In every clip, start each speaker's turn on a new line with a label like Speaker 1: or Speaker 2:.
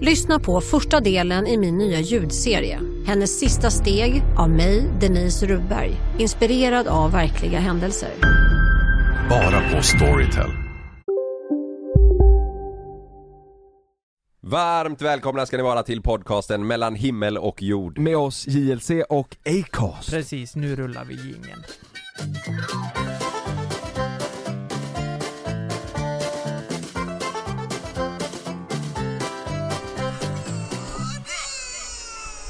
Speaker 1: Lyssna på första delen i min nya ljudserie. Hennes sista steg av mig, Denise Rubberg. Inspirerad av verkliga händelser.
Speaker 2: Bara på Storytel.
Speaker 3: Varmt välkomna ska ni vara till podcasten mellan himmel och jord.
Speaker 4: Med oss JLC och Acast.
Speaker 5: Precis, nu rullar vi jingeln.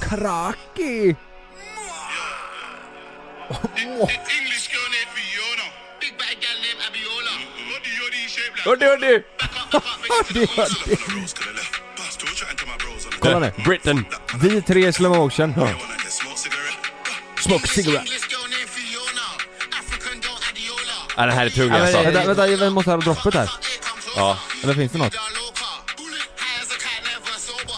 Speaker 4: Kraki!
Speaker 3: Hörde, hörde!
Speaker 4: Kolla nu.
Speaker 3: Britain.
Speaker 4: Vi tre i slow motion.
Speaker 3: Smoke cigarette. Ja, det här är tungt
Speaker 4: Alltså.
Speaker 3: alltså.
Speaker 4: Vänta, vänta, jag måste höra droppet här.
Speaker 3: Ja.
Speaker 4: Eller finns det något?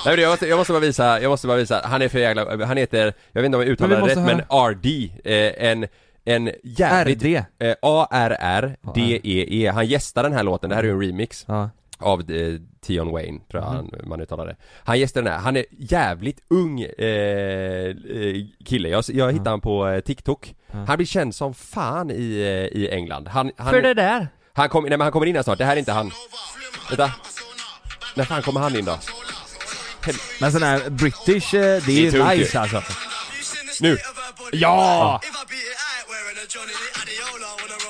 Speaker 3: Nej, men jag, måste, jag måste bara visa, jag måste bara visa. Han är för jävla, han heter, jag vet inte om jag uttalar
Speaker 4: Men
Speaker 3: det
Speaker 4: vi
Speaker 3: rätt
Speaker 4: måste
Speaker 3: men RD, eh, en, en jävligt...
Speaker 4: RD.
Speaker 3: Eh, A-R-R-D-E-E. E Han gästar den här låten, det här är ju en remix.
Speaker 4: Ja. Mhm.
Speaker 3: Av eh, Tion Wayne, tror jag han, man uttalar det. Han gästar den här, han är jävligt ung eh, eh, kille. Jag, jag hittade han på eh, TikTok. Han blir känd som fan i, eh, i England. Han, han,
Speaker 5: För det där.
Speaker 3: han, kom, nej, men han kommer in här snart, det här är inte han. Vänta. När fan kommer han in då?
Speaker 4: Men sån här British, eh, det är
Speaker 3: Det är tungt
Speaker 4: ju
Speaker 3: ju.
Speaker 4: nice alltså.
Speaker 3: Nu!
Speaker 4: Ja!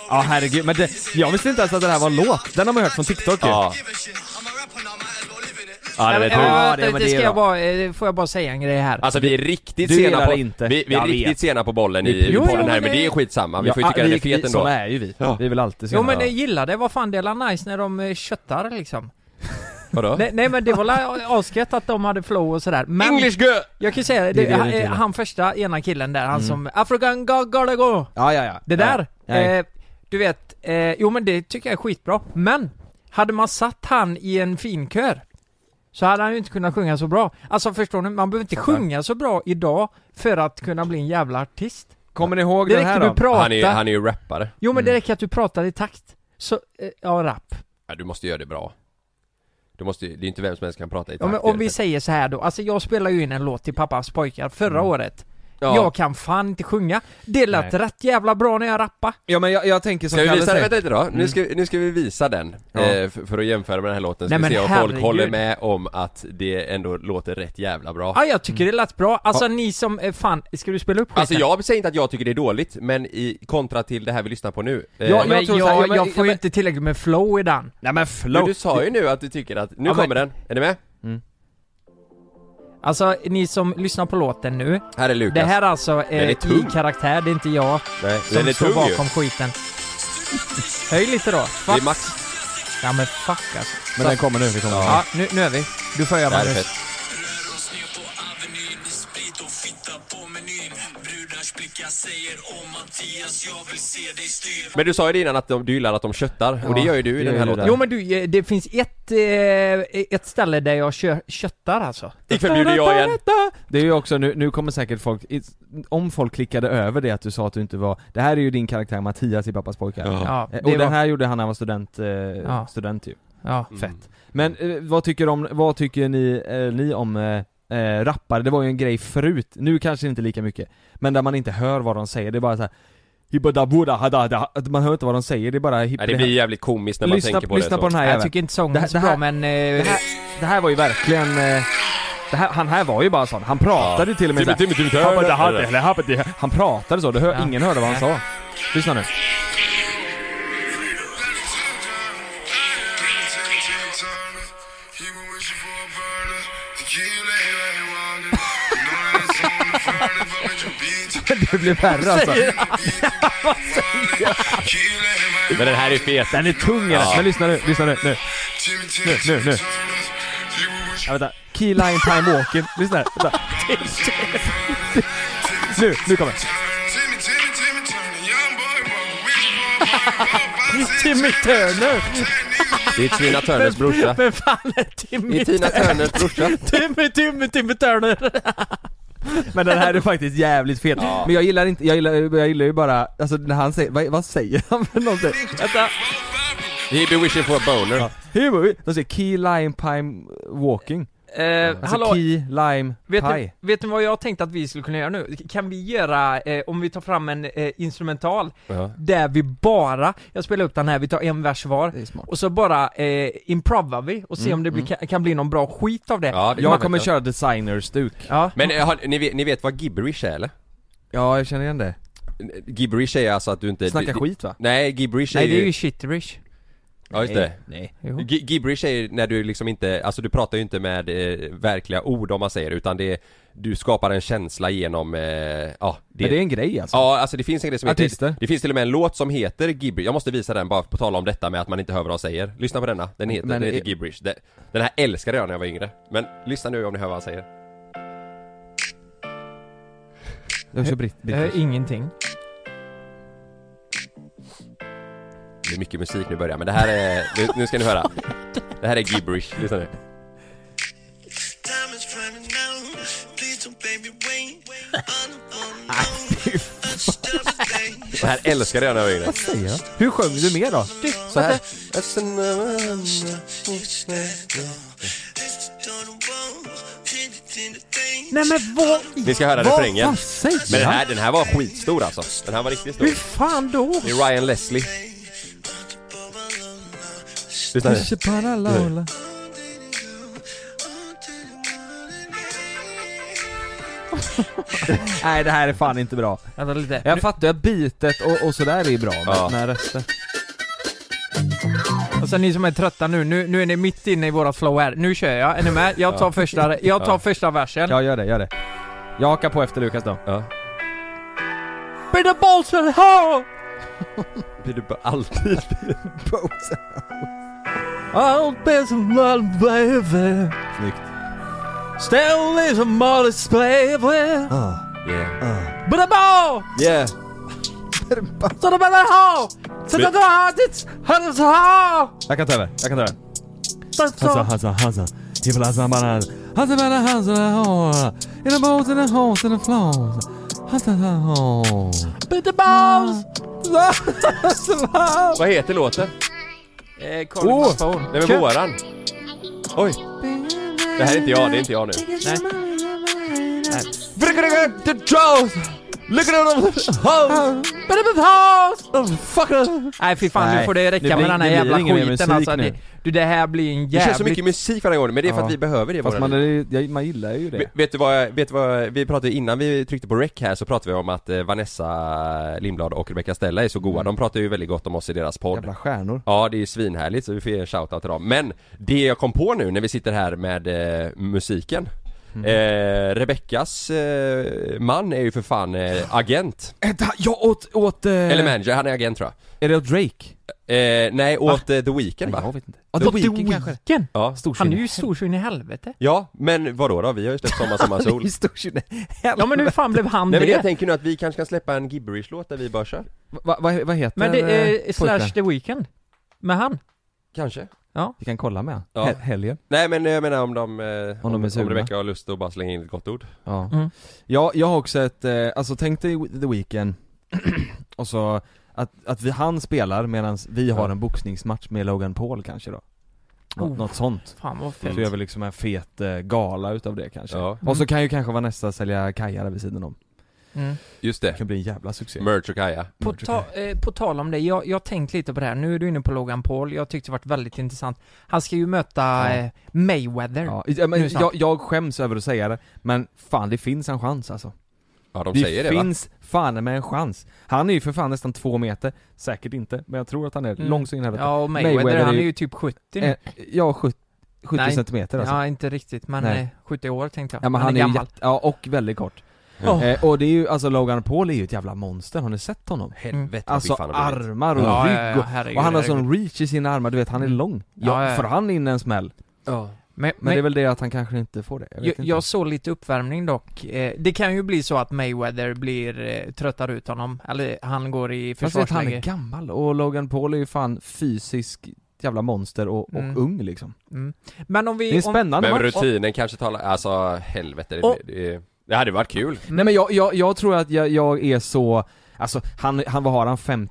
Speaker 4: Ja herregud, men det, jag visste inte ens att det här var en låt. Den har man hört från TikTok ju.
Speaker 3: Ja. Ja, det
Speaker 5: Nej,
Speaker 3: vet
Speaker 5: men,
Speaker 3: du.
Speaker 5: äh,
Speaker 4: Ja, det-
Speaker 5: det,
Speaker 4: men
Speaker 5: det
Speaker 4: det
Speaker 5: ska
Speaker 4: är
Speaker 5: jag
Speaker 4: bra.
Speaker 5: bara, eh, får jag bara säga en grej här.
Speaker 3: Alltså vi är riktigt
Speaker 4: Du
Speaker 3: sena
Speaker 4: gillar
Speaker 3: på,
Speaker 4: det inte.
Speaker 3: Vi, vi är
Speaker 4: Jag
Speaker 3: riktigt
Speaker 4: vet.
Speaker 3: sena på bollen i,
Speaker 4: Jo,
Speaker 3: i
Speaker 5: jo,
Speaker 3: podden
Speaker 5: men
Speaker 3: här men
Speaker 5: det-
Speaker 3: det är skitsamma, vi får ju
Speaker 4: Ja,
Speaker 3: tycka den är
Speaker 4: vi-
Speaker 3: fet
Speaker 4: Såna
Speaker 3: ändå.
Speaker 4: är ju vi.
Speaker 3: Ja.
Speaker 4: Vi är väl alltid
Speaker 5: Jo men
Speaker 4: sena.
Speaker 5: jag gillar det, vad fan det är alla nice när de eh, köttar liksom.
Speaker 3: Vadå?
Speaker 5: Nej, nej men det var la- asgött att de hade flow och sådär. Men
Speaker 3: English girl!
Speaker 5: jag kan ju säga, det, Mm.
Speaker 4: det
Speaker 5: han,
Speaker 4: det gillar.
Speaker 5: han första ena killen där, han som African go, go, go.
Speaker 4: Ja, ja, ja.
Speaker 5: Det där,
Speaker 4: Ja. Nej.
Speaker 5: eh, du vet, eh, jo men det tycker jag är skitbra. Men, hade man satt han i en finkör så hade han ju inte kunnat sjunga så bra. Alltså förstår ni, man behöver inte sjunga så bra idag för att kunna bli en jävla artist.
Speaker 4: Kommer ni ihåg
Speaker 5: Det
Speaker 4: den här
Speaker 5: räcker du
Speaker 4: då?
Speaker 5: pratar.
Speaker 3: Han är, han är Mm. ju rappare.
Speaker 5: Jo men det räcker att du pratar i takt. Så, eh, ja rap.
Speaker 3: Ja, du måste göra det bra. Du måste, ju- det är inte vem som helst som kan prata i
Speaker 5: Ja, men
Speaker 3: takt,
Speaker 5: om vi
Speaker 3: egentligen.
Speaker 5: säger så här då, alltså jag spelade ju in en låt till pappas pojkar förra
Speaker 3: Mm.
Speaker 5: året. Jag kan fan inte sjunga. Det lät
Speaker 4: Nej.
Speaker 5: rätt jävla bra när jag rappade.
Speaker 4: Ja men jag, jag tänker som
Speaker 3: Ska vi
Speaker 4: Kalle
Speaker 3: visa den?
Speaker 4: säger.
Speaker 3: Vänta lite då,
Speaker 5: Mm.
Speaker 3: nu ska, nu ska vi visa den.
Speaker 4: Ja.
Speaker 3: Eh, för, för att jämföra med den här låten, ska
Speaker 5: Nej,
Speaker 3: vi se
Speaker 5: men
Speaker 3: om folk
Speaker 5: herregud.
Speaker 3: håller med om att det ändå låter rätt jävla bra.
Speaker 5: Ja, jag tycker det lät bra. Alltså ni som, eh, fan, ska du spela upp skiten?
Speaker 3: Mm. Alltså jag säger inte att jag tycker det är dåligt, men i kontra till det här vi lyssnar på nu. eh,
Speaker 5: Ja,
Speaker 4: men
Speaker 5: men jag,
Speaker 4: jag-
Speaker 5: jag,
Speaker 4: men-
Speaker 5: får
Speaker 4: men-
Speaker 5: ju inte tillräckligt med flow i den.
Speaker 4: Nej men
Speaker 3: men
Speaker 4: flow.
Speaker 3: du sa ju nu att du tycker att, nu
Speaker 5: Ja, men-
Speaker 3: kommer den, är ni med?
Speaker 5: Alltså, ni som lyssnar på låten nu.
Speaker 3: Här är Lukas.
Speaker 5: Det här är alltså
Speaker 3: Den
Speaker 5: eh,
Speaker 3: är
Speaker 5: i
Speaker 3: tung.
Speaker 5: karaktär, det är inte jag
Speaker 3: Nej, den
Speaker 5: som
Speaker 3: är
Speaker 5: står
Speaker 3: tung ju.
Speaker 5: bakom skiten. Höj lite då.
Speaker 3: Det
Speaker 5: Fuck.
Speaker 3: är Max.
Speaker 5: Ja men fuck alltså.
Speaker 4: Men den kommer nu, vi kommer.
Speaker 5: Ja, nu, nu är vi. Du får göra
Speaker 3: Det här är
Speaker 5: Magnus.
Speaker 3: fett. Men du sa ju det innan att de, du gillar att de köttar, och det gör ju du i
Speaker 4: det
Speaker 3: den här
Speaker 4: gör ju
Speaker 3: låten.
Speaker 5: Jo men du, eh, det finns ett, eh, ett ställe där jag kö- köttar alltså.
Speaker 3: Ikväll bjuder jag igen.
Speaker 4: Det är ju också, nu, nu kommer säkert folk, om folk klickade över det att du sa att du inte var, det här är ju din karaktär Mattias i Pappas pojkar.
Speaker 5: Ja,
Speaker 4: Eh, Och
Speaker 5: det
Speaker 4: den
Speaker 5: var,
Speaker 4: här gjorde han när han var student, eh, student ju.
Speaker 5: ja.
Speaker 3: Mm.
Speaker 4: Fett. Men eh, vad tycker om, vad tycker ni, eh, ni om eh, eh, rappare? Det var ju en grej förut, nu kanske inte lika mycket. Men där man inte hör vad de säger, det är bara såhär Hibbadabuda hadada, att man hör inte vad de säger, det är bara hipp-
Speaker 3: Nej, det blir jävligt komiskt när man
Speaker 4: lyssna,
Speaker 3: tänker på
Speaker 4: lyssna
Speaker 3: det
Speaker 4: på
Speaker 3: så.
Speaker 4: den här
Speaker 5: Jag
Speaker 4: jäveln.
Speaker 5: tycker inte sången
Speaker 4: Det här-
Speaker 5: är så
Speaker 4: det här-
Speaker 5: bra men... eh,
Speaker 4: Det här, det här var ju verkligen... eh, Det här, han här var ju bara sån, han pratade ju till och med
Speaker 3: Timmy, Timmy,
Speaker 4: såhär,
Speaker 3: Timmy, Timmy,
Speaker 4: "Habba, da,
Speaker 3: eller?"
Speaker 4: habba, eller, habba, det- Han pratade så, det hör,
Speaker 5: Ja.
Speaker 4: ingen hörde vad han sa. Lyssna nu. Det blir värre alltså.
Speaker 3: Men den här är fet.
Speaker 4: Den är tung ja. Men lyssna nu, lyssna nu, nu. Nu, nu, nu. Ja, vänta. Key line time walking. Lyssna här, vänta. Nu, nu kommer.
Speaker 5: Timmy Turner!
Speaker 3: Det är Tina Turners brorsa.
Speaker 5: Vem fan är
Speaker 3: Det är
Speaker 5: Timmy?
Speaker 3: Tina Turners brorsa.
Speaker 5: Timmy, Timmy, Timmy Turner!
Speaker 4: Men den här är faktiskt jävligt fet. Men jag gillar inte, jag gillar, jag gillar ju bara, alltså när han säger, vad, vad säger han för någonting?
Speaker 5: Vänta.
Speaker 3: He be wishing for a boner.
Speaker 4: Hur, de säger key lime pime walking.
Speaker 5: Eh,
Speaker 4: Alltså
Speaker 5: hallå,
Speaker 4: key lime
Speaker 5: vet
Speaker 4: pie.
Speaker 5: ni, vet ni vad jag tänkte att vi skulle kunna göra nu? Kan vi göra, eh, om vi tar fram en eh, instrumental,
Speaker 3: Ja.
Speaker 5: där vi bara, jag spelar upp den här, vi tar en vers var,
Speaker 4: Det är smart. Mm,
Speaker 5: och så bara eh, improvar vi och ser om det blir, kan, kan bli någon bra skit av det.
Speaker 3: Ja, det
Speaker 4: Jag
Speaker 3: vet
Speaker 4: kommer
Speaker 3: jag.
Speaker 4: köra designerstuk.
Speaker 5: Ja.
Speaker 3: Men eh, har, ni, vet, ni vet vad gibberish är eller?
Speaker 4: Ja, jag känner igen det.
Speaker 3: Gibberish är alltså att du inte...
Speaker 4: Snacka
Speaker 3: du,
Speaker 4: skit va?
Speaker 3: Nej, gibberish är
Speaker 5: Nej det är
Speaker 3: ju...
Speaker 5: ju shiterish.
Speaker 3: Ja just det.
Speaker 4: Nej.
Speaker 5: Jo.
Speaker 3: Gi- Gibberish är ju när du liksom inte, alltså du pratar ju inte med eh, verkliga ord om man säger utan det är, du skapar en känsla genom, eh, ja
Speaker 4: Men det är en grej alltså.
Speaker 3: Ja, alltså det finns en grej som
Speaker 4: Artister.
Speaker 3: heter... Det finns till och med en låt som heter Gibberish. Jag måste visa den bara på tal om detta med att man inte hör vad de säger. Lyssna på denna. Den heter,
Speaker 4: Men
Speaker 3: den heter
Speaker 4: är-
Speaker 3: Gibberish. Den, den här älskade jag när jag var yngre. Men lyssna nu om ni hör vad han säger.
Speaker 4: Det är också britt,
Speaker 5: Jag hör
Speaker 4: britt.
Speaker 5: Eh, ingenting.
Speaker 3: Det är mycket musik nu i början, men det här är... Nu, nu ska ni höra. Det här är Gibberish. Lyssna nu. Det här älskade jag när jag var yngre.
Speaker 4: Hur sjöng du mer då?
Speaker 3: Så här.
Speaker 5: Nej men vad
Speaker 3: Ni ska höra refrängen.
Speaker 4: Vad säger
Speaker 3: Men den
Speaker 4: han?
Speaker 3: här, den här var skitstor alltså. Den här var riktigt stor.
Speaker 5: Hur fan då?
Speaker 3: Det är Ryan Leslie. Lyssna nu.
Speaker 4: Paralaula. Nej det här är fan inte bra.
Speaker 5: Vänta lite.
Speaker 4: Jag fattar att bitet och, och sådär är bra men,
Speaker 3: Ja.
Speaker 4: men resten.
Speaker 5: Alltså ni som är trötta nu, nu, nu är ni mitt inne i våra flow här. Nu kör jag, är ni med? Jag tar första, jag tar första versen.
Speaker 4: Ja gör det, gör det. Jag hakar på efter Lukas då.
Speaker 3: Ja.
Speaker 5: Be the balls will ho!
Speaker 3: Blir du bara alltid...
Speaker 5: I'll be some love baby.
Speaker 4: Snyggt.
Speaker 5: Still is a modest baby.
Speaker 3: Yeah.
Speaker 5: Be the ball!
Speaker 4: Yeah.
Speaker 5: Så det behöver ha! Så det
Speaker 3: Men-
Speaker 5: har ditt hennes ha!
Speaker 4: Jag kan ta över, jag kan ta över. Hansa, Hansa, Hansa. People are some banan. Hansa, banan, Hansa, oh. In the bones, in the holes, in the flows. Hansa, oh.
Speaker 5: Bitte Baus!
Speaker 4: Ah.
Speaker 3: Vad heter låten?
Speaker 5: Eh,
Speaker 3: Åh!
Speaker 5: Colin oh.
Speaker 3: Nej men våran. Oj. Det här är inte jag, det är inte jag nu.
Speaker 4: Look at them hoes.
Speaker 5: Ah.
Speaker 4: Oh,
Speaker 5: Nej fy fan, nu
Speaker 4: Nej,
Speaker 5: får det räcka
Speaker 4: det blir-
Speaker 5: med den här
Speaker 4: det blir
Speaker 5: jävla
Speaker 4: ingen mer
Speaker 5: skiten
Speaker 4: musik
Speaker 5: alltså.
Speaker 4: nu.
Speaker 5: Det, du det här blir en
Speaker 3: Det känns så
Speaker 5: jävligt...
Speaker 3: mycket musik varje gång, men det är för
Speaker 4: Ja.
Speaker 3: att vi behöver det i
Speaker 4: Fast
Speaker 3: våran
Speaker 4: man, är, ju- jag- man gillar ju det.
Speaker 3: Ve- Vet du vad, jag- vet du vad, vi pratade innan vi tryckte på rec här så pratade vi om att eh, Vanessa Lindblad och Rebecca Stella är så goa, de pratar ju väldigt gott om oss i deras podd
Speaker 4: Mm. Jävla stjärnor.
Speaker 3: Ja det är ju svinhärligt så vi får ge en shoutout till dem Men det jag kom på nu när vi sitter här med eh, musiken
Speaker 4: Mm.
Speaker 3: eh, Rebeckas eh, man är ju för fan eh, agent,
Speaker 4: Vänta, äh, jag åt, åt... eh,
Speaker 3: eller manager, han är agent tror jag
Speaker 4: Är det åt Drake?
Speaker 3: eh, Nej åt eh, The Weeknd va?
Speaker 4: Jag vet inte. Ja,
Speaker 5: The Weeknd kanske?
Speaker 3: Ja,
Speaker 5: Han är ju storsyn i helvete.
Speaker 3: ja men vadå då? Vi har ju släppt Sommar Sommar Sol
Speaker 4: Storsyn
Speaker 5: Ja men hur fan blev han
Speaker 3: Nej men jag
Speaker 5: det?
Speaker 3: tänker nu att vi kanske kan släppa en gibberish-låt där vi bara kör
Speaker 4: Vad va, vad heter
Speaker 5: Men det är
Speaker 4: eh,
Speaker 5: Slash
Speaker 4: pojken?
Speaker 5: the Weeknd. Med han.
Speaker 3: Kanske
Speaker 4: Vi kan kolla med han.
Speaker 3: Ja.
Speaker 4: Hel- Helgen.
Speaker 3: Nej men jag menar om de, eh,
Speaker 4: Om de är
Speaker 3: om, om
Speaker 4: sugna.
Speaker 3: Rebecca har lust att bara slänga in ett gott ord
Speaker 4: Ja.
Speaker 5: Mm.
Speaker 4: ja, jag har också ett, eh, alltså tänk dig The Weeknd och så att, att vi, han spelar medan vi har en boxningsmatch med Logan Paul kanske då. Nå,
Speaker 5: Oh.
Speaker 4: Något sånt.
Speaker 5: Fan vad
Speaker 4: Så gör
Speaker 5: fett.
Speaker 4: vi liksom en fet eh, gala utav det kanske.
Speaker 3: Ja,
Speaker 4: Och så kan ju kanske Vanessa sälja kajar vid sidan om.
Speaker 5: Mm.
Speaker 3: just
Speaker 4: Det
Speaker 3: det
Speaker 4: kan bli en jävla succé.
Speaker 3: Merch och Kaja
Speaker 5: På, ta, eh, på tal om det, jag, jag har tänkt lite på det här. Nu är du inne på Logan Paul. Jag tyckte det varit väldigt intressant. Han ska ju möta eh, Mayweather.
Speaker 4: Ja, ja, men
Speaker 5: Nu snart.
Speaker 4: jag, jag skäms över att säga det, men fan det finns en chans alltså.
Speaker 3: Ja, de
Speaker 4: det
Speaker 3: säger det va?
Speaker 4: finns fan med en chans. Han är ju för fan nästan två meter, säkert inte, men jag tror att han är
Speaker 5: Mm.
Speaker 4: lång så in i helvete.
Speaker 5: Ja, och Mayweather,
Speaker 4: Mayweather är
Speaker 5: han är
Speaker 4: ju-
Speaker 5: ju typ 70 nu.
Speaker 4: Eh, ja, 70, 70
Speaker 5: Nej.
Speaker 4: centimeter alltså.
Speaker 5: Ja, inte riktigt, men
Speaker 4: Nej.
Speaker 5: eh, 70 år tänkte jag.
Speaker 4: Ja men han, är, ju
Speaker 5: gammal.
Speaker 4: jätte- ja, och väldigt kort.
Speaker 5: Ja.
Speaker 4: Eh, och det är ju, alltså Logan Paul är ju ett jävla monster, har ni sett honom?
Speaker 3: Helvete vad
Speaker 4: Alltså
Speaker 3: fick fan han blivit.
Speaker 4: armar och
Speaker 5: Ja, ja,
Speaker 4: rygg
Speaker 5: ja,
Speaker 4: och,
Speaker 5: herregud,
Speaker 4: och han har
Speaker 5: herregud.
Speaker 4: sån reach i sina armar, du vet han är
Speaker 5: Mm.
Speaker 4: lång. Ja,
Speaker 5: Ja, ja, ja.
Speaker 4: Får han in en smäll?
Speaker 5: Men,
Speaker 4: Men det är
Speaker 5: men
Speaker 4: väl det att han kanske inte får det, jag vet
Speaker 5: jag,
Speaker 4: inte.
Speaker 5: jag såg lite uppvärmning dock. Eh, Det kan ju bli så att Mayweather blir, eh, tröttar ut honom, eller han går i
Speaker 4: Fast vet, han
Speaker 5: försvarsläge.
Speaker 4: är gammal och Logan Paul är ju fan fysisk jävla monster och, och
Speaker 5: Mm.
Speaker 4: ung liksom.
Speaker 5: Mm. Men om vi...
Speaker 4: Det är en
Speaker 5: om,
Speaker 4: spännande
Speaker 3: Men
Speaker 4: match.
Speaker 3: rutinen kanske talar, alltså helvete.
Speaker 5: Och-
Speaker 3: Det, det, det hade varit kul.
Speaker 4: Nej men jag, jag, jag tror att jag, jag är så, alltså han, han, vad har han? 50-0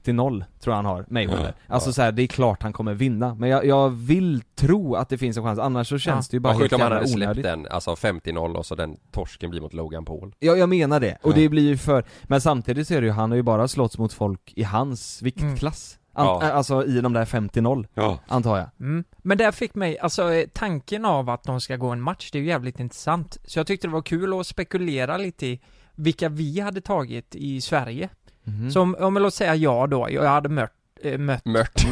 Speaker 4: tror jag han har, Mayweather. Alltså så här, det är klart han kommer vinna, men jag, jag vill tro att det finns en chans, annars så känns
Speaker 5: Ja.
Speaker 4: det ju bara
Speaker 3: Vad
Speaker 4: helt
Speaker 3: sjukt om han
Speaker 4: jävla
Speaker 3: hade släppt
Speaker 4: onödigt.
Speaker 3: den, alltså 50-0 och så den torsken blir mot Logan Paul.
Speaker 4: Ja, jag menar det, och det blir ju för, men samtidigt så är det ju, han har ju bara slått mot folk i hans viktklass. An,
Speaker 3: Mm. Ja.
Speaker 4: äh, Alltså i de där 50-0,
Speaker 3: Ja.
Speaker 4: antar jag.
Speaker 5: mm. Men där fick mig, alltså eh, tanken av att de ska gå en match, det är ju jävligt intressant. Så jag tyckte det var kul att spekulera lite i vilka vi hade tagit i Sverige.
Speaker 4: Mhm.
Speaker 5: Så om, om låt säga jag då, jag hade mört, äh, mött...
Speaker 3: Mört.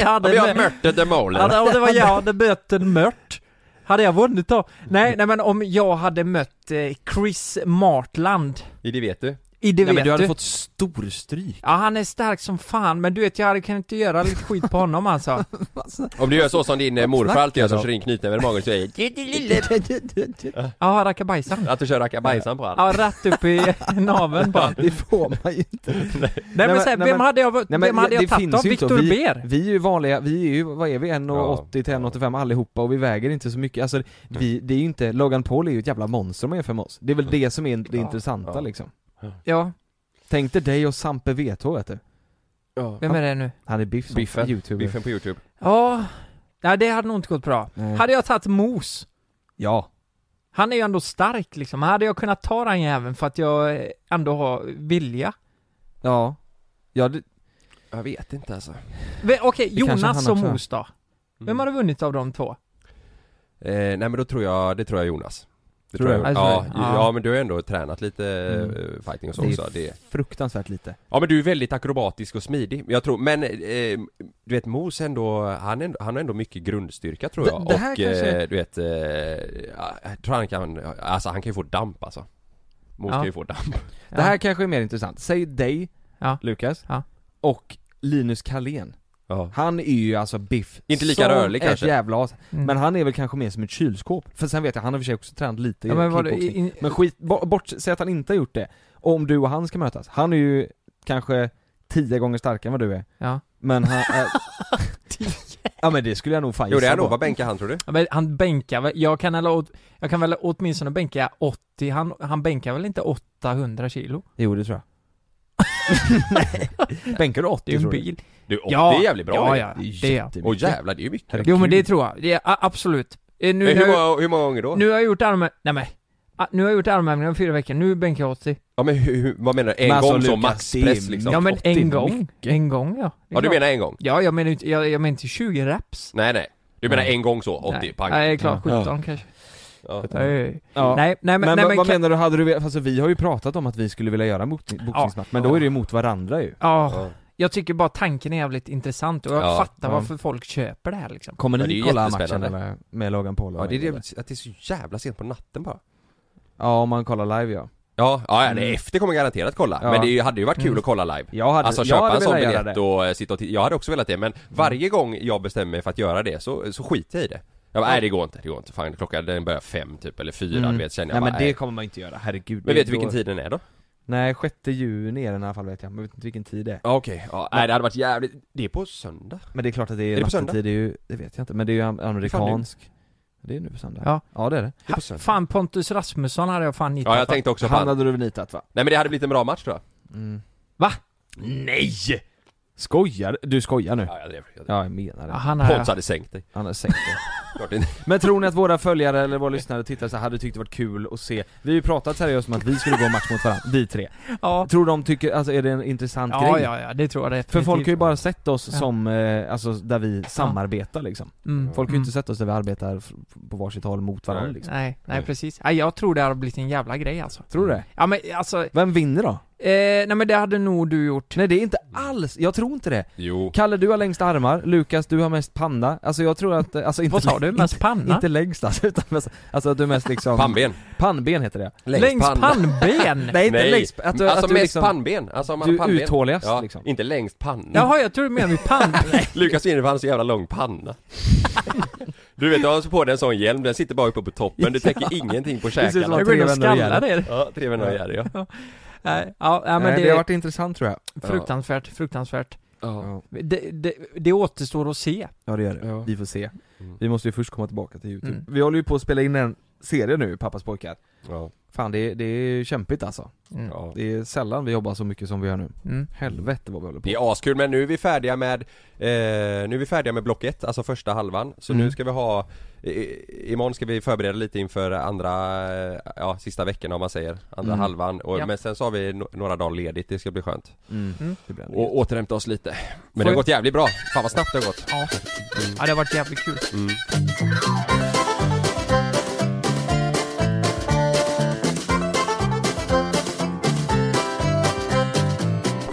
Speaker 5: jag hade
Speaker 3: Vi har
Speaker 5: mött-
Speaker 3: mörte the
Speaker 5: Ja,
Speaker 3: Mole.
Speaker 5: det- om det var jag hade mött en mört. Hade jag vunnit då? Nej,
Speaker 4: Mm.
Speaker 5: nej men om jag hade mött eh, Chris Martland
Speaker 3: I det vet du.
Speaker 5: i det
Speaker 4: Nej, men
Speaker 5: vet
Speaker 4: du
Speaker 5: du.
Speaker 4: hade fått storstryk.
Speaker 5: Ja, han är stark som fan, men du vet, jag hade kunnat inte göra lite skit på honom alltså.
Speaker 3: Om du gör så som din eh, morfar alltid gör som
Speaker 4: om?
Speaker 3: kör in knytnäven i magen så är
Speaker 5: Ja, rackabajsan.
Speaker 3: Att du kör rackabajsan på allt.
Speaker 5: Ja, rätt upp i naveln bara.
Speaker 4: Det får man ju inte.
Speaker 5: Nej men
Speaker 4: men-
Speaker 5: såhär,
Speaker 4: nej,
Speaker 5: vem
Speaker 4: men-
Speaker 5: hade jag,
Speaker 4: Nej,
Speaker 5: vem
Speaker 4: men
Speaker 5: hade
Speaker 4: det
Speaker 5: jag tagit
Speaker 4: finns
Speaker 5: av?
Speaker 4: ju inte,
Speaker 5: Viktor
Speaker 4: och vi,
Speaker 5: Ber?
Speaker 4: Vi är ju vanliga, vi är ju, vad är vi? 1,80 till
Speaker 3: Ja.
Speaker 4: 1,85 allihopa och vi väger inte så mycket, alltså vi, det är ju inte, Logan Paul är ju ett jävla monster om man jämför med oss Det är väl det som är det intressanta
Speaker 3: Ja.
Speaker 4: liksom
Speaker 5: Ja,
Speaker 4: Tänk dig dig och Sampe VT vet du
Speaker 5: vem är det nu?
Speaker 4: Han är biff som
Speaker 3: Biffen.
Speaker 4: youtuber
Speaker 3: Biffen på youtube.
Speaker 5: Ja, nej det hade nog inte gått bra.
Speaker 4: Nej.
Speaker 5: Hade jag tagit Mos,
Speaker 4: Ja,
Speaker 5: han är ju ändå stark liksom, hade jag kunnat ta den jäveln för att jag eh, ändå har vilja?
Speaker 4: ja Ja, det,
Speaker 3: Jag vet inte alltså. Mm.
Speaker 5: Ve- Okej,
Speaker 4: kanske
Speaker 5: Jonas
Speaker 4: han
Speaker 5: och
Speaker 4: också är.
Speaker 5: Mos då? Vem hade vunnit av de två?
Speaker 3: Eh, nej men då tror jag, det tror jag Jonas. Det
Speaker 4: Tror du? Alltså, Mm.
Speaker 3: jag. Ja,
Speaker 5: Ja, det tror jag.
Speaker 3: ja, ja men du har ändå tränat lite eh, fighting och så
Speaker 4: Det är
Speaker 3: också. Det,
Speaker 4: fruktansvärt lite
Speaker 3: ja men du är väldigt akrobatisk och smidig. Jag tror, men eh, du vet Mos ändå, han, ändå, han har ändå mycket grundstyrka tror
Speaker 4: Det-
Speaker 3: jag.
Speaker 4: det här
Speaker 3: och
Speaker 4: kanske-
Speaker 3: eh, du vet, eh, jag tror han kan, alltså han kan ju få damp alltså. Mos
Speaker 5: Ja.
Speaker 3: kan ju få damp.
Speaker 4: Det här kanske är mer intressant, säg dig
Speaker 5: Ja.
Speaker 4: Lukas
Speaker 5: Ja.
Speaker 4: och Linus Karlén
Speaker 3: Ja.
Speaker 4: Han är ju alltså biff
Speaker 3: Inte lika
Speaker 4: som
Speaker 3: rörlig
Speaker 4: ett
Speaker 3: kanske.
Speaker 4: jävla as.
Speaker 5: Mm.
Speaker 4: Men han är väl kanske mer som ett kylskåp För sen vet jag, han har i och för sig också tränat lite
Speaker 5: Ja, men
Speaker 4: men
Speaker 5: vad-
Speaker 4: kickboxning
Speaker 5: in-
Speaker 4: Men skit, bo- bort, säg att han inte har gjort det Och Om du och han ska mötas, han är ju kanske tio gånger starkare än vad du är
Speaker 5: Ja.
Speaker 4: Men han... Äh, ja men det skulle jag nog fan
Speaker 3: Jo det är
Speaker 4: gissa
Speaker 3: nog,
Speaker 4: på.
Speaker 3: vad bänkar han tror du?
Speaker 5: Ja, men Han bänkar väl, jag kan, eller, åt- jag kan väl åtminstone bänka 80, han, han bänkar väl inte 800 kilo?
Speaker 4: Jo det tror jag Bänkar du 80
Speaker 5: Det är ju en
Speaker 4: tror du?
Speaker 5: bil.
Speaker 3: Du, och det är jävligt bra det.
Speaker 5: ja, ja,
Speaker 4: Det är ju
Speaker 5: det är jag.
Speaker 3: Åh jävlar det är ju mycket.
Speaker 4: Herregud.
Speaker 5: Jo men det tror jag, det är, a- absolut. Eh, Nu,
Speaker 3: Eh,
Speaker 5: när
Speaker 3: hur,
Speaker 5: jag,
Speaker 3: många, hur många gånger då?
Speaker 5: nu har jag gjort armhävningar, nej men. Ah, Nu har jag gjort armhävningar i fyra veckor, nu bänkar jag 80.
Speaker 3: Ja men hur, hur, vad menar du? En
Speaker 4: Men alltså,
Speaker 3: gång som
Speaker 4: Lukas, det
Speaker 3: maxpress
Speaker 4: är
Speaker 3: liksom?
Speaker 5: Ja men
Speaker 4: 80 är
Speaker 5: en gång,
Speaker 4: mycket.
Speaker 5: en gång ja. Det är
Speaker 3: Ja du
Speaker 5: klart.
Speaker 3: menar en gång?
Speaker 5: Ja, jag menar inte, jag, jag menar inte 20 reps.
Speaker 3: Nej nej. Du menar
Speaker 4: Nej.
Speaker 3: en gång så, 80,
Speaker 5: nej.
Speaker 3: pang?
Speaker 5: Nej, det är klart, 17 kanske.
Speaker 3: Ja.
Speaker 5: Nej,
Speaker 4: Ja.
Speaker 5: nej, nej men,
Speaker 4: Men,
Speaker 5: nej,
Speaker 4: vad,
Speaker 5: men
Speaker 4: vad
Speaker 5: kan-
Speaker 4: menar du, hade du velat- alltså, vi har ju pratat om att vi skulle vilja göra en bot- boxningsmatch, men då är det ju mot varandra ju
Speaker 5: Ja,
Speaker 3: Ja.
Speaker 5: Ah, jag tycker bara tanken är jävligt intressant och jag
Speaker 3: Ja,
Speaker 5: fattar
Speaker 4: ja.
Speaker 5: varför folk köper det här liksom.
Speaker 4: Kommer
Speaker 3: Ja, det är
Speaker 4: ni
Speaker 3: ju
Speaker 4: kolla matchen
Speaker 3: jättespännande.
Speaker 4: eller, med Logan Paul? och
Speaker 3: Ja det är
Speaker 4: mig,
Speaker 3: det, att det är så jävla sent på natten bara
Speaker 4: Ja, om man kollar live ja.
Speaker 3: Ja, ja, ja nej, efter kommer jag garanterat kolla,
Speaker 4: Ja.
Speaker 3: men det är ju- hade ju varit
Speaker 5: Mm.
Speaker 3: kul att kolla live
Speaker 4: Jag hade,
Speaker 3: Alltså
Speaker 4: jag
Speaker 3: köpa
Speaker 4: hade
Speaker 3: en sån
Speaker 4: velat göra Mm.
Speaker 3: biljett och eh, sitta och titta, jag hade också velat det men varje gång jag bestämmer mig för att göra det så, så skiter jag i det jag bara, nej det går inte, det går inte, fan klockan den börjar fem typ eller fyra
Speaker 4: Mm.
Speaker 3: du vet känner
Speaker 4: Nej
Speaker 3: jag
Speaker 4: men
Speaker 3: bara,
Speaker 4: det
Speaker 3: nej.
Speaker 4: kommer man inte göra,
Speaker 3: men
Speaker 4: herregud det är
Speaker 3: vet du vilken
Speaker 4: då-
Speaker 3: tid den är då?
Speaker 4: Nej, 6 juni är den i alla fall vet jag, men jag vet inte vilken tid det är
Speaker 3: Ja okej, ja, nej det hade varit jävligt, det är på söndag?
Speaker 4: Men det är klart att det
Speaker 3: Är
Speaker 4: är,
Speaker 3: det på söndag?
Speaker 4: nattetid, det är ju, det vet jag inte, men det är ju am- amerikansk Det är nu på söndag
Speaker 5: Ja.
Speaker 4: ja det är det
Speaker 3: Det är på söndag
Speaker 5: Fan Pontus Rasmusson hade jag fan nitat.
Speaker 3: Ja jag tänkte också
Speaker 4: Han
Speaker 3: fan,
Speaker 4: hade du nitat va?
Speaker 3: nej men det hade blivit en bra match tror jag
Speaker 4: Mm.
Speaker 5: Va?
Speaker 4: Nej! Skojar Du skojar nu?
Speaker 3: Ja jag drev, jag drev.
Speaker 4: Ja, jag menar
Speaker 5: Ja,
Speaker 4: det
Speaker 5: han
Speaker 3: Pontus
Speaker 5: hade...
Speaker 3: hade sänkt dig
Speaker 4: Han har sänkt det
Speaker 3: Klart inte.
Speaker 4: Men tror ni att våra följare eller våra lyssnare och tittare så här hade tyckt det varit kul att se? Vi har ju pratat seriöst om att vi skulle gå en match mot varandra, vi tre.
Speaker 5: Ja,
Speaker 4: Tror de tycker, alltså är det en intressant
Speaker 5: ja,
Speaker 4: grej?
Speaker 5: ja, ja det tror jag definitivt.
Speaker 4: För folk har ju bara sett oss
Speaker 5: Ja.
Speaker 4: som, eh, alltså där vi samarbetar liksom.
Speaker 5: Mm,
Speaker 4: Folk har ju
Speaker 5: mm.
Speaker 4: inte sett oss där vi arbetar f- på varsitt håll mot varandra liksom.
Speaker 5: Nej, nej
Speaker 3: Nej.
Speaker 5: precis. Nej, jag tror det har blivit en jävla grej alltså.
Speaker 4: Tror du det?
Speaker 5: Ja men alltså, eh,
Speaker 4: Vem vinner då?
Speaker 5: nej men det hade nog du gjort.
Speaker 4: Nej det är inte alls, jag tror inte det.
Speaker 3: Jo,
Speaker 4: Kalle du har längst armar, Lukas du har mest panna, alltså jag tror att, eh, alltså inte
Speaker 5: Vad sa du? Mest
Speaker 4: Inte,
Speaker 5: panna?
Speaker 4: inte längst alltså, utan mest, alltså att du är mest liksom
Speaker 3: pannben
Speaker 4: Pannben heter det
Speaker 5: Längst pannben?
Speaker 4: Nej inte
Speaker 3: Nej.
Speaker 4: längst, att du,
Speaker 3: alltså
Speaker 4: att du
Speaker 3: mest
Speaker 4: liksom,
Speaker 3: pannben, alltså om man
Speaker 4: du
Speaker 3: har pannben.
Speaker 4: uthålligast,
Speaker 3: ja,
Speaker 4: liksom.
Speaker 3: inte längst panna.
Speaker 5: Jaha, jag tror du menar med pann.
Speaker 3: Lukas vinner för han har så jävla lång panna. du vet, jag har så på dig en sån hjälm, den sitter bara uppe på toppen, du täcker ingenting på
Speaker 4: Precis som
Speaker 3: käkarna.
Speaker 5: Jag går in och
Speaker 4: Tre vänner och
Speaker 5: skallar det.
Speaker 3: Ja, tre vänner och Jerry ja.
Speaker 5: Nej, ja, ja, men
Speaker 4: Nej,
Speaker 5: det,
Speaker 4: det... det har varit intressant tror jag
Speaker 5: fruktansvärt, fruktansvärt.
Speaker 3: ja.
Speaker 5: Det, det, det återstår att se.
Speaker 4: Ja det gör det,
Speaker 3: Ja.
Speaker 4: vi får se
Speaker 3: Mm.
Speaker 4: Vi måste ju först komma tillbaka till youtube
Speaker 5: Mm.
Speaker 4: Vi håller ju på att spela in en serie nu, Pappas pojkar
Speaker 3: ja.
Speaker 4: Fan det, är- det är kämpigt alltså
Speaker 5: Mm.
Speaker 3: ja.
Speaker 4: Det är sällan vi jobbar så mycket som vi gör nu
Speaker 5: Mm.
Speaker 4: Helvete vad vi håller på
Speaker 3: Det är askul men nu är vi färdiga med eh, Nu är vi färdiga med block 1, alltså första halvan Så
Speaker 4: Mm.
Speaker 3: nu ska vi ha i, Imorgon ska vi förbereda lite inför andra eh, Ja sista veckan om man säger Andra
Speaker 4: Mm.
Speaker 3: halvan och,
Speaker 5: Ja.
Speaker 3: Men sen så har vi no- några dagar ledigt, det ska bli skönt
Speaker 4: mm.
Speaker 5: Mm.
Speaker 4: Det blir ändå
Speaker 3: Och återhämta oss lite Men det
Speaker 5: jag-
Speaker 3: har gått jävligt bra, fan vad snabbt det har gått
Speaker 5: Ja. ja, det har varit jävligt kul.
Speaker 3: mm.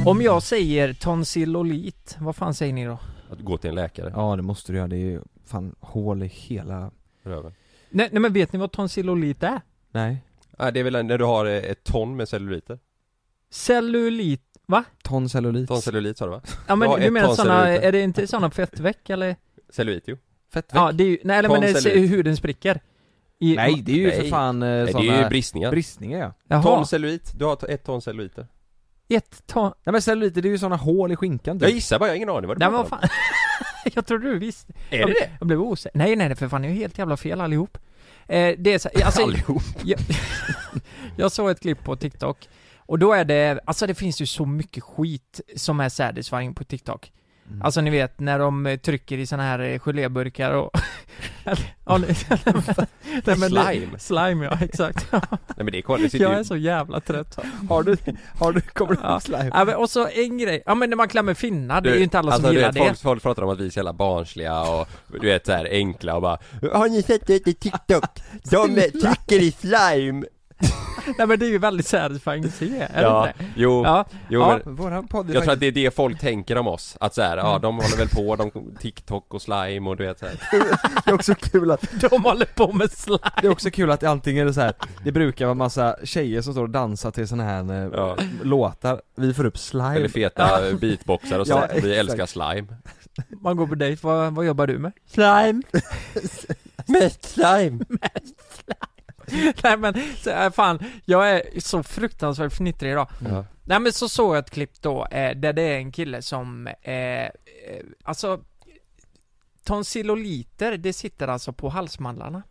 Speaker 5: Om jag säger tonsillolit, vad fan säger ni då?
Speaker 3: Att gå till en läkare,
Speaker 4: Ja det måste du göra, det är ju fan hål i hela
Speaker 3: röven
Speaker 5: Nej, nej men vet ni vad tonsillolit är?
Speaker 4: Nej
Speaker 3: ah, Det är väl när du har eh, ett ton med celluliter?
Speaker 5: Cellulit.
Speaker 4: Toncellulit
Speaker 3: Toncellulit sa du va?
Speaker 5: Ja men
Speaker 3: Ja,
Speaker 5: du
Speaker 3: ett
Speaker 5: menar såna,
Speaker 3: tonsillolit.
Speaker 5: är det inte såna fettveck eller?
Speaker 3: Cellulit jo
Speaker 4: Fettväck?
Speaker 5: Ja, det är ju, nej eller men det är
Speaker 3: Tonsillolit.
Speaker 5: huden spricker. I,
Speaker 4: Nej det är ju för
Speaker 3: Nej.
Speaker 4: fan eh,
Speaker 3: Nej,
Speaker 4: såna
Speaker 3: Det är ju bristningar
Speaker 4: bristningar ja
Speaker 5: Jaha,
Speaker 3: Ton cellulit, du har ett ton celluliter
Speaker 5: ett ton...
Speaker 4: Nej men celluliter det är ju såna hål i skinkan
Speaker 3: Jag
Speaker 4: typ
Speaker 3: gissar bara, jag har ingen aning vad du
Speaker 5: Nej men
Speaker 3: pratar
Speaker 5: vad
Speaker 3: om.
Speaker 5: fan. jag trodde du visste.
Speaker 3: Är det det?
Speaker 5: Jag blev osäker. Nej nej nej, för fan ni är ju helt jävla fel allihop. Eh, det är så, alltså,
Speaker 3: Allihop.
Speaker 5: jag, jag såg ett klipp på TikTok och då är det, alltså det finns ju så mycket skit som är satisfying på TikTok.
Speaker 3: Mm.
Speaker 5: Alltså ni vet när de eh, trycker i såna här eh, geléburkar och... ja, nej, nej, men det-
Speaker 3: Slime.
Speaker 5: Slime ja, exakt.
Speaker 3: Nej men det är kvar, det sitter
Speaker 5: jag
Speaker 3: ju
Speaker 5: är så jävla trött.
Speaker 4: Har du, har du, kommer du
Speaker 5: Ja.
Speaker 4: ihåg slime?
Speaker 5: Ja, men, och så en grej, ja men när man klämmer finnar, det är ju inte alla
Speaker 3: alltså,
Speaker 5: som
Speaker 3: du
Speaker 5: gillar
Speaker 3: vet,
Speaker 5: det.
Speaker 3: Folk, folk pratar om att vi är så jävla barnsliga och du vet såhär enkla och bara Har ni sett det i TikTok? De trycker i slime!
Speaker 5: Nej men det är ju väldigt satisfying att se, är det
Speaker 3: Ja,
Speaker 5: inte det?
Speaker 3: jo,
Speaker 5: Ja,
Speaker 3: jo
Speaker 5: ja.
Speaker 3: Men,
Speaker 4: Våran podd är
Speaker 3: jag tror att
Speaker 4: faktiskt
Speaker 3: det är det folk tänker om oss, att såhär, ja de håller väl på, de, TikTok och slime och du vet såhär
Speaker 4: det är också kul att,
Speaker 5: de håller på med slime.
Speaker 4: det är också kul att det antingen är det så här, det brukar vara massa tjejer som står och dansar till såna här eh,
Speaker 3: Ja.
Speaker 4: låtar, vi får upp slime
Speaker 3: Eller feta beatboxar och
Speaker 4: Ja,
Speaker 3: sådär, vi
Speaker 4: exakt.
Speaker 3: älskar slime
Speaker 5: Man går på dejt, vad, vad jobbar du med?
Speaker 4: Slime!
Speaker 3: Mest slime!
Speaker 5: Nej men, så, äh, fan, jag är så fruktansvärt fnittrig idag.
Speaker 3: Ja.
Speaker 5: Nej men så såg jag ett klipp då, eh, där det är en kille som, eh, eh, alltså Tonsilloliter, det sitter alltså på halsmandlarna.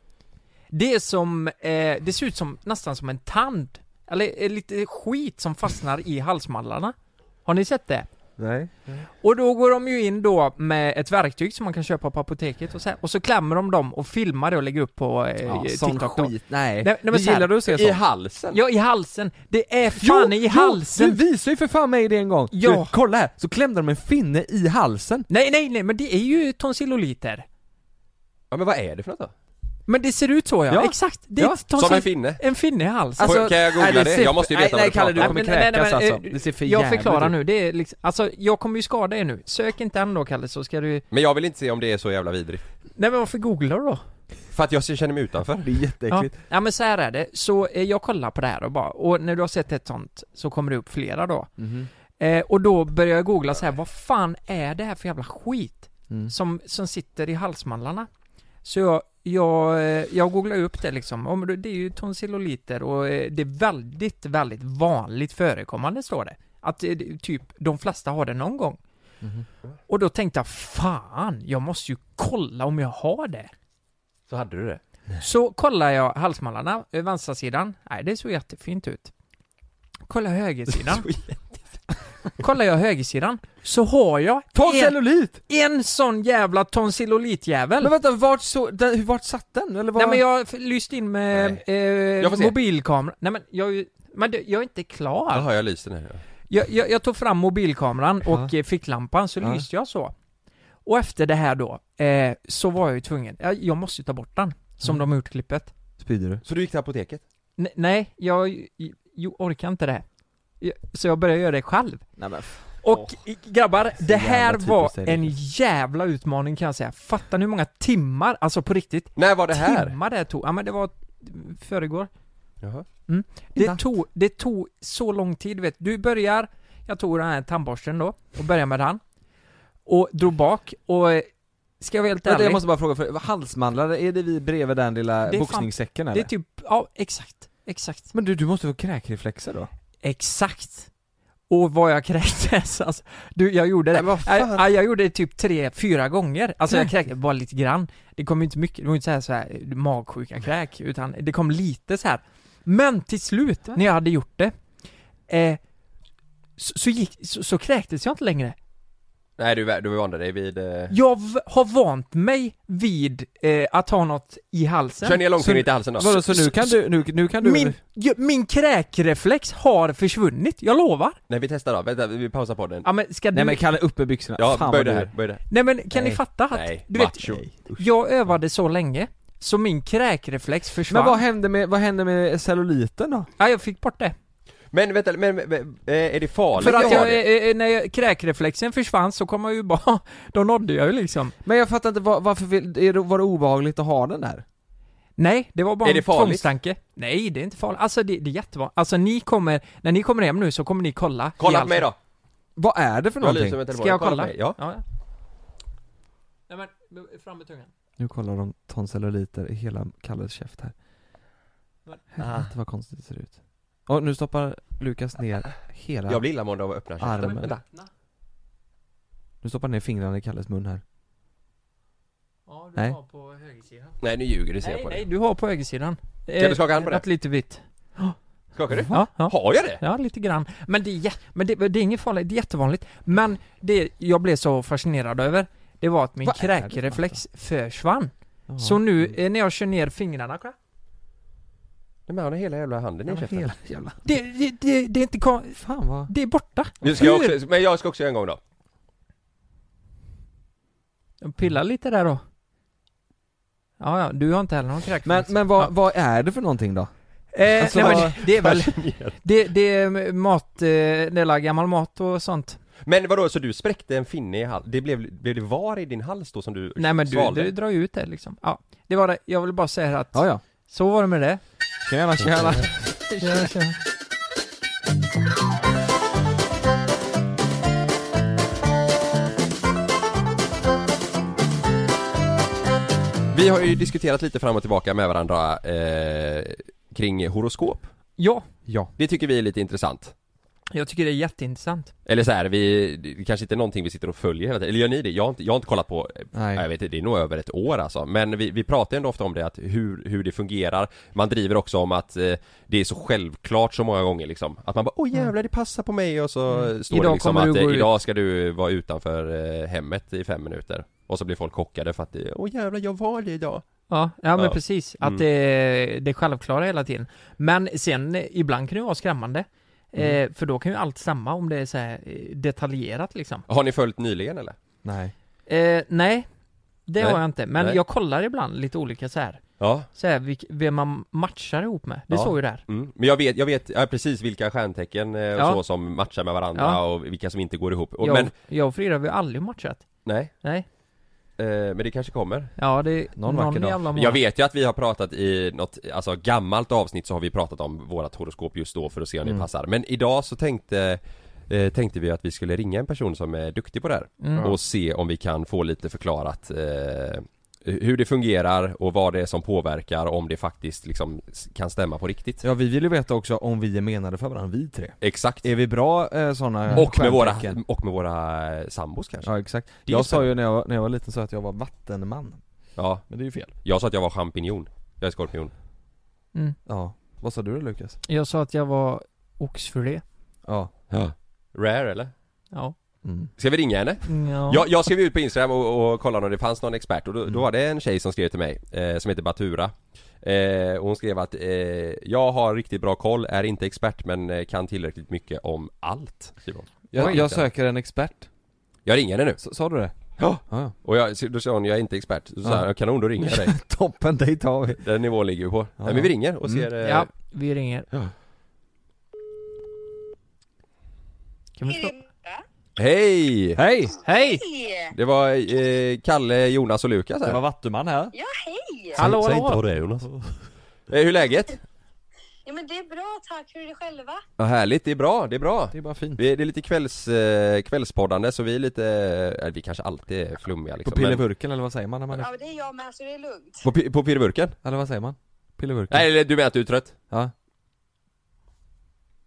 Speaker 5: Det är som, eh, det ser ut som, nästan som en tand. Eller eh, lite skit som fastnar i halsmandlarna. Har ni sett det?
Speaker 4: Nej
Speaker 5: Och då går de ju in då med ett verktyg som man kan köpa på apoteket och så, här, och så klämmer de dem och filmar det och lägger upp på eh,
Speaker 4: ja, Sån
Speaker 5: TikTok då.
Speaker 4: skit, nej,
Speaker 5: Nej, nej, men så här,
Speaker 4: Gillar du att se
Speaker 3: I
Speaker 4: sånt?
Speaker 3: halsen!
Speaker 5: Ja, i halsen. Det är fan i halsen.
Speaker 4: Du visade ju för fan mig det en gång!
Speaker 5: Ja.
Speaker 4: Du, kolla här, så klämde de en finne i halsen!
Speaker 5: Nej, nej, nej, men det är ju tonsilloliter.
Speaker 3: Ja men vad är det för något då?
Speaker 5: Men det ser ut så ja,
Speaker 4: Ja.
Speaker 5: exakt. Det är
Speaker 4: Ja.
Speaker 5: ett tonsill-
Speaker 3: Som en finne?
Speaker 5: En finne i halsen.
Speaker 3: Alltså, kan jag googla det?
Speaker 4: nej, ser-
Speaker 3: Jag måste ju veta vad
Speaker 4: Nej, nej
Speaker 3: du
Speaker 4: Kalle
Speaker 3: pratar
Speaker 4: du
Speaker 3: om.
Speaker 4: kommer
Speaker 5: Nej, men- nej, nej,
Speaker 4: kräkas
Speaker 5: men,
Speaker 4: alltså,
Speaker 5: eh,
Speaker 4: det ser för
Speaker 5: jag
Speaker 4: jävligt
Speaker 5: förklarar
Speaker 4: ut.
Speaker 5: nu, det är liksom, alltså jag kommer ju skada er nu. Sök inte än då Kalle så ska du...
Speaker 3: Men jag vill inte se om det är så jävla vidrigt
Speaker 5: Nej men varför googlar du då?
Speaker 3: För att jag känner mig utanför
Speaker 4: Det är
Speaker 5: Ja.
Speaker 4: jätteäckligt
Speaker 5: ja men så här är det, så eh, jag kollar på det här och bara, och när du har sett ett sånt så kommer det upp flera då.
Speaker 4: Mhm.
Speaker 5: Eh, och då börjar jag googla så här, vad fan är det här för jävla skit?
Speaker 4: Mm.
Speaker 5: Som, som sitter i halsmandlarna. Så jag, jag, eh, jag googlar upp det liksom, Om det det är ju tonsilloliter och eh, det är väldigt, väldigt vanligt förekommande står det. Att eh, det- typ, de flesta har det någon gång.
Speaker 3: Mhm.
Speaker 5: Och då tänkte jag, fan, jag måste ju kolla om jag har det.
Speaker 3: Så hade du det?
Speaker 5: Så kollar jag halsmallarna, eh, vänstra sidan. Nej, det såg jättefint ut. Kolla högersidan. kollar jag högersidan, så har jag en,
Speaker 4: Tonsillolit!
Speaker 5: en sån jävla tonsillolitjävel.
Speaker 4: Men vänta, vart, så, den, hur- vart satt den? Eller var...
Speaker 5: Nej men jag f- lyste in med
Speaker 3: Jag får
Speaker 5: eh,
Speaker 3: se.
Speaker 5: mobilkamera. Nej men jag, är ju- men det- jag är inte klar.
Speaker 3: Jaha, jag lyser nu.
Speaker 5: Jag, jag, jag tog fram mobilkameran och eh, ficklampan, så
Speaker 4: Ja.
Speaker 5: lyste jag så. Och efter det här då, eh, så var jag ju tvungen, jag, jag måste ju ta bort den, som de har gjort klippet.
Speaker 4: Spyder du?
Speaker 3: Så du gick till apoteket?
Speaker 5: N- nej, jag, jag orkar inte det. Jag, så jag började göra det själv.
Speaker 4: Nej men
Speaker 5: Och i- grabbar, det här
Speaker 4: typiskt
Speaker 5: var
Speaker 4: dig,
Speaker 5: en
Speaker 4: Rickard.
Speaker 5: jävla utmaning kan jag säga. Fattar ni hur många timmar, alltså på riktigt,
Speaker 3: När var det här?
Speaker 5: timmar det här tog? Ja men det var föregår.
Speaker 3: Jaha.
Speaker 5: Det tog, det tog så lång tid vet du. Du börjar, jag tog den här tandborsten då och började med den. Och drog bak och, eh, ska jag vara helt
Speaker 4: Vänta,
Speaker 5: ärlig,
Speaker 4: jag måste bara fråga, för, halsmandlar, är det vi bredvid den lilla
Speaker 5: Det är
Speaker 4: boxningssäcken
Speaker 5: det
Speaker 4: eller?
Speaker 5: är typ, ja exakt, exakt,
Speaker 4: Men du, du måste få kräkreflexer då?
Speaker 5: exakt. Och vad jag kräktes alltså, du jag gjorde det.
Speaker 3: Nej, vad fan?
Speaker 5: Jag, jag gjorde det typ tre, fyra gånger. Alltså jag kräkte bara lite grann. Det kom ju inte mycket, det var ju inte så här, så här magsjuka kräk, utan det kom lite så här. Men till slut, när jag hade gjort det, eh, så, så, gick, så, så kräktes jag inte längre.
Speaker 3: Nej du, du vande dig vid... Eh...
Speaker 5: Jag v- har vant mig vid eh, att ha något i halsen.
Speaker 3: Kör ner långfingret
Speaker 4: så-
Speaker 3: i halsen då.
Speaker 4: Vadå, så nu kan du, nu, nu kan du...
Speaker 5: Min, ju- min kräkreflex har försvunnit, jag lovar.
Speaker 3: Nej vi testar då, vänta vi pausar podden.
Speaker 5: Ja, men ska du...
Speaker 4: Nej men Kalle, upp med byxorna,
Speaker 3: Ja,
Speaker 4: Ah, fan
Speaker 3: böj
Speaker 4: vad
Speaker 3: det
Speaker 4: du
Speaker 3: här,
Speaker 4: är.
Speaker 3: böj det här.
Speaker 5: Nej, men kan
Speaker 4: Nej.
Speaker 5: ni fatta att,
Speaker 3: Nej,
Speaker 5: du vet,
Speaker 3: macho.
Speaker 5: jag övade så länge, så min kräkreflex försvann.
Speaker 4: Men vad hände med, vad hände med celluliten då?
Speaker 5: Ja, jag fick bort det.
Speaker 3: Men vänta, men, men, men eh, är det farligt
Speaker 5: För att
Speaker 3: att ha det?
Speaker 5: jag, eh, eh, när jag, kräkreflexen försvann så kom jag ju bara, då nådde jag ju liksom.
Speaker 4: Men jag fattar inte, var, varför vill, är det, var det obehagligt att ha den där?
Speaker 5: Nej, det var bara
Speaker 3: Är det
Speaker 5: en
Speaker 3: farligt?
Speaker 5: tvångstanke. Nej, det är inte farligt. Alltså det, det är jättevanligt. Alltså ni kommer, när ni kommer hem nu så kommer ni kolla. i
Speaker 3: Kolla på
Speaker 5: allt.
Speaker 3: mig då!
Speaker 4: Vad är det för
Speaker 3: Jag lyser
Speaker 4: någonting?
Speaker 3: med telefonen,
Speaker 5: Ska jag
Speaker 3: kolla på
Speaker 5: kolla?
Speaker 3: mig. Ja.
Speaker 5: Nej men, fram med tungan.
Speaker 4: Nu kollar de tonselluliter i hela Kalles käft här
Speaker 3: Ah.
Speaker 4: Helvete vad konstigt det ser ut Och nu stoppar Lukas ner hela,
Speaker 3: Jag blir illamående av att öppna
Speaker 4: Armen.
Speaker 3: käften. Vänta.
Speaker 4: nu stoppar ner fingrarna i Kalles mun här
Speaker 5: Ja,
Speaker 4: Nej.
Speaker 5: har på högersidan.
Speaker 3: Nej nu ljuger du, ser jag
Speaker 5: Nej,
Speaker 3: på
Speaker 5: nej,
Speaker 3: dig.
Speaker 5: du har på högersidan. Eh,
Speaker 3: Kan du skaka hand på det?
Speaker 5: Något lite vitt.
Speaker 3: Skakar du?
Speaker 5: Ja, ja.
Speaker 3: Har jag det?
Speaker 5: Ja, lite grann. Men det är, jä- men det, det är inget farligt, det är jättevanligt. Men det jag blev så fascinerad över, det var att min
Speaker 4: Vad är det för
Speaker 5: kräkreflex försvann.
Speaker 4: Ja.
Speaker 5: Så nu eh, när jag kör ner fingrarna
Speaker 3: Nej men han har hela jävla handen i
Speaker 4: Ja,
Speaker 3: käften.
Speaker 4: hela jävla...
Speaker 5: det, det, det, det är inte kon-
Speaker 4: Fan vad...
Speaker 5: Det är borta.
Speaker 3: Nu ska jag
Speaker 5: Hur?
Speaker 3: också, men jag ska också göra en gång då.
Speaker 5: Pilla lite där då. Ja, ja, du har inte heller någon
Speaker 4: Men,
Speaker 5: kräkreflex.
Speaker 4: men vad,
Speaker 5: Ja.
Speaker 4: vad är det för någonting då?
Speaker 5: Eh,
Speaker 4: Alltså,
Speaker 5: nej, men
Speaker 4: vad-
Speaker 5: det, det är väl, det, det är mat, eh, det är gammal mat och sånt.
Speaker 3: Men vadå, så du spräckte en finne i hals? Det blev, blev det var i din hals då som du
Speaker 5: Nej men du,
Speaker 3: svalde?
Speaker 5: du drar ju ut det liksom. Ja, det var det. Jag vill bara säga att
Speaker 4: Ja, ja.
Speaker 5: så var det med det.
Speaker 4: Tjena, tjena.
Speaker 3: Vi har ju diskuterat lite fram och tillbaka med varandra eh, kring horoskop.
Speaker 5: Ja,
Speaker 4: Ja.
Speaker 3: Det tycker vi är lite intressant.
Speaker 5: jag tycker det är jätteintressant.
Speaker 3: Eller så här, vi, det kanske inte är någonting vi sitter och följer hela tiden. Eller gör ni det? Jag har inte, jag har inte kollat på,
Speaker 4: Nej.
Speaker 3: Nej. jag vet inte, det är nog över ett år alltså. Men vi, vi pratar ändå ofta om det, att hur, hur det fungerar. Man driver också om att eh, det är så självklart så många gånger liksom. Att man bara, åh jävlar det passar på mig och så står
Speaker 5: Mm. Idag
Speaker 3: det liksom
Speaker 5: kommer
Speaker 3: att
Speaker 5: du gå
Speaker 3: eh,
Speaker 5: ut.
Speaker 3: idag ska du vara utanför eh, hemmet i fem minuter. Och så blir folk chockade för att, det- åh jävlar jag var det idag.
Speaker 5: Ja, ja men
Speaker 3: Ja.
Speaker 5: precis. Att
Speaker 3: Mm.
Speaker 5: det, det är självklara hela tiden. Men sen, eh, ibland kan det vara skrämmande. Eh, för då kan ju allt stämma om det är så här eh, detaljerat liksom.
Speaker 3: Har ni följt nyligen eller?
Speaker 4: Nej.
Speaker 5: Eh, nej, det
Speaker 3: Nej.
Speaker 5: har jag inte. Men
Speaker 3: Nej.
Speaker 5: jag kollar ibland lite olika så här.
Speaker 3: Ja.
Speaker 5: Så här vilk, vem man matchar ihop med. Det
Speaker 3: Ja.
Speaker 5: såg ju där.
Speaker 3: Mm. Men jag vet, jag vet ja, precis vilka stjärntecken eh, och
Speaker 5: Ja.
Speaker 3: så som matchar med varandra
Speaker 5: Ja.
Speaker 3: och vilka som inte går ihop. Och,
Speaker 5: Jag,
Speaker 3: men,
Speaker 5: jag och Frida, vi har aldrig matchat.
Speaker 3: nej,
Speaker 5: Nej.
Speaker 3: eh, men det kanske kommer.
Speaker 5: Ja, det är
Speaker 4: Någon
Speaker 5: någon,
Speaker 4: vacker dag.
Speaker 5: jävla
Speaker 3: Jag vet ju att vi har pratat i något, alltså gammalt avsnitt så har vi pratat om vårat horoskop just då för att se om det
Speaker 4: Mm.
Speaker 3: passar. Men idag så tänkte, eh, tänkte vi att vi skulle ringa en person som är duktig på det här
Speaker 5: Mm.
Speaker 3: och se om vi kan få lite förklarat eh, hur det fungerar och vad det är som påverkar om det faktiskt liksom s- kan stämma på riktigt.
Speaker 4: Ja, vi vill ju veta också om vi är menade för varandra, vi tre.
Speaker 3: Exakt.
Speaker 4: Är vi bra eh, sådana
Speaker 3: Och med, våra,
Speaker 4: stjärntecken?
Speaker 3: och med våra eh, sambos kanske?
Speaker 4: Ja, exakt.
Speaker 3: Det är
Speaker 4: Jag sa
Speaker 3: spännande.
Speaker 4: ju när jag, var- när jag var liten så att jag var vattenman.
Speaker 3: ja.
Speaker 4: Men det är ju fel.
Speaker 3: Jag sa att jag var champinjon. Jag är skorpion.
Speaker 5: Mm.
Speaker 4: Ja. Vad sa du då Lukas?
Speaker 5: Jag sa att jag var oxfilé.
Speaker 4: Ja.
Speaker 3: Ja. Rare eller?
Speaker 5: Ja.
Speaker 4: Mm.
Speaker 3: Ska vi ringa henne?
Speaker 5: ja.
Speaker 3: Jag, jag skrev ut på Instagram och, och kollade om det fanns någon expert och då,
Speaker 4: Mm.
Speaker 3: då var det en tjej som skrev till mig eh, Som heter Batura eh, och Hon skrev att eh, Jag har riktigt bra koll, är inte expert men eh, kan tillräckligt mycket om allt skriver hon.
Speaker 4: Jag,
Speaker 3: Oj.
Speaker 4: jag söker en expert.
Speaker 3: Jag ringer henne nu
Speaker 4: S sa du det? Ah,
Speaker 3: Ja.
Speaker 4: Ja, ja.
Speaker 3: och jag, så- då sa hon jag är inte expert, så sa
Speaker 4: Ja.
Speaker 3: jag kanon då ringer jag dig
Speaker 4: Toppen, dig tar vi. Ah,
Speaker 3: Den nivån ligger vi på.
Speaker 4: Ja. Mm.
Speaker 3: Nej men vi ringer och ser eh,
Speaker 5: ja, vi ringer.
Speaker 4: Ja.
Speaker 5: Kan vi slå?
Speaker 3: Hej!
Speaker 4: Hej!
Speaker 5: Hej!
Speaker 3: Det var eh, Kalle, Jonas och Lukas här
Speaker 4: Det var Vattuman här.
Speaker 5: Hallå, hallå!
Speaker 3: det är Jonas Hur är läget?
Speaker 6: Ja men det är bra tack, hur är det själva?
Speaker 3: Ja härligt, det är bra, det är bra
Speaker 4: Det är bara fint.
Speaker 3: Vi är, det är lite kvälls, eh, kvällspoddande så vi är lite, eh, vi kanske alltid är flummiga
Speaker 4: På
Speaker 3: liksom men-
Speaker 4: pillevurken eller vad säger man när man är...
Speaker 6: Ja men det är jag med så det är lugnt.
Speaker 3: På, pi- på pirrburken?
Speaker 4: Eller vad säger man? Pillevurken?
Speaker 3: Nej eller du menar att du är trött?
Speaker 4: Ja.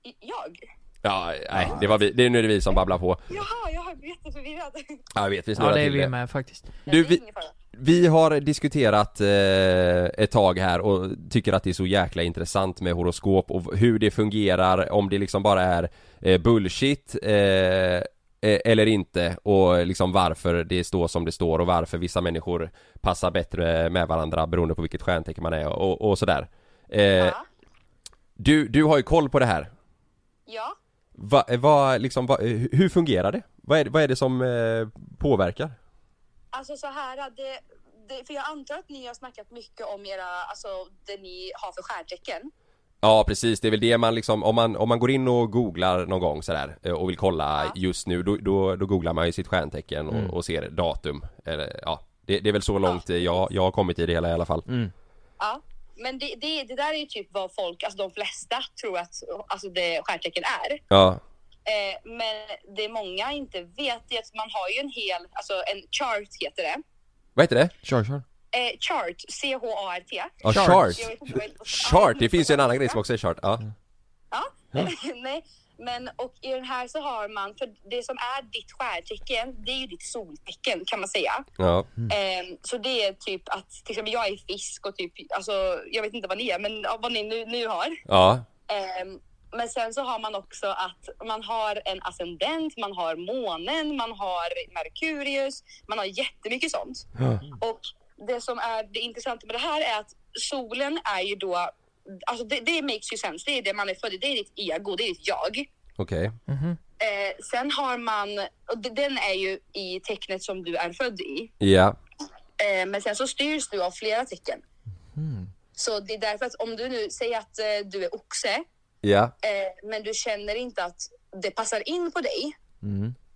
Speaker 6: I- Jag?
Speaker 3: Ja, nej det var vi, det är nu det är vi som babblar på
Speaker 6: Jaha, jag blir jätteförvirrad.
Speaker 3: Ja jag vet, vi
Speaker 5: Ja
Speaker 3: snurrar
Speaker 5: det är
Speaker 3: till
Speaker 5: vi
Speaker 3: det
Speaker 5: med faktiskt.
Speaker 3: Du,
Speaker 6: Det är
Speaker 3: vi,
Speaker 6: ingen fara.
Speaker 3: vi har diskuterat eh, ett tag här och tycker att det är så jäkla intressant med horoskop och v- hur det fungerar, om det liksom bara är eh, bullshit eh, eh, eller inte och liksom varför det står som det står och varför vissa människor passar bättre med varandra beroende på vilket stjärntecken man är och, och sådär. Eh,
Speaker 6: Ja.
Speaker 3: du, du har ju koll på det här.
Speaker 6: ja.
Speaker 3: Va, va, liksom, va, hu- hur fungerar det? Vad är, vad är det som eh, påverkar?
Speaker 6: Alltså så här, det, det, för jag antar att ni har snackat mycket om era, alltså det ni har för stjärntecken.
Speaker 3: Ja precis, det är väl det man liksom, om man, om man går in och googlar någon gång sådär eh, och vill kolla
Speaker 6: Ja. Mm.
Speaker 3: just nu, då, då, då googlar man ju sitt stjärntecken och, och ser datum. Eller, ja, det, det är väl så långt eh, jag, jag har kommit i det hela i alla fall.
Speaker 6: Mm. Ja. Men det, det, det där är ju typ vad folk, alltså de flesta tror att alltså det stjärntecken är.
Speaker 3: Ja,
Speaker 6: Eh, men det många inte vet är att man har ju en hel, alltså en chart heter det.
Speaker 3: vad heter det?
Speaker 4: Kör, kör.
Speaker 6: Eh, chart, C-H-A-R-T.
Speaker 3: Ja,
Speaker 5: Chart.
Speaker 3: chart.
Speaker 6: Jag vet inte vad det- Mm.
Speaker 3: Chart, det finns ju en annan grej som också är chart. Ja,
Speaker 6: Ja, nej. Men och i den här så har man, för det som är ditt stjärntecken, det är ju ditt soltecken kan man säga.
Speaker 3: ja.
Speaker 6: Ehm, så det är typ att, till exempel jag är fisk och typ, alltså jag vet inte vad ni är, men ja, vad ni nu, nu har.
Speaker 3: ja.
Speaker 6: Ehm, men sen så har man också att man har en ascendent, man har månen, man har Merkurius, man har jättemycket sånt. Och det som är det intressanta med det här är att solen är ju då, alltså det, det makes ju sense, det är det man är född i, det är ditt ego, det är ditt jag.
Speaker 3: okej.
Speaker 6: Eh, sen har man, och d- den är ju i tecknet som du är född i,
Speaker 3: Ja,
Speaker 6: eh, men sen så styrs du av flera tecken. Så det är därför att om du nu säger att eh, du är oxe,
Speaker 3: ja,
Speaker 6: eh, men du känner inte att det passar in på dig.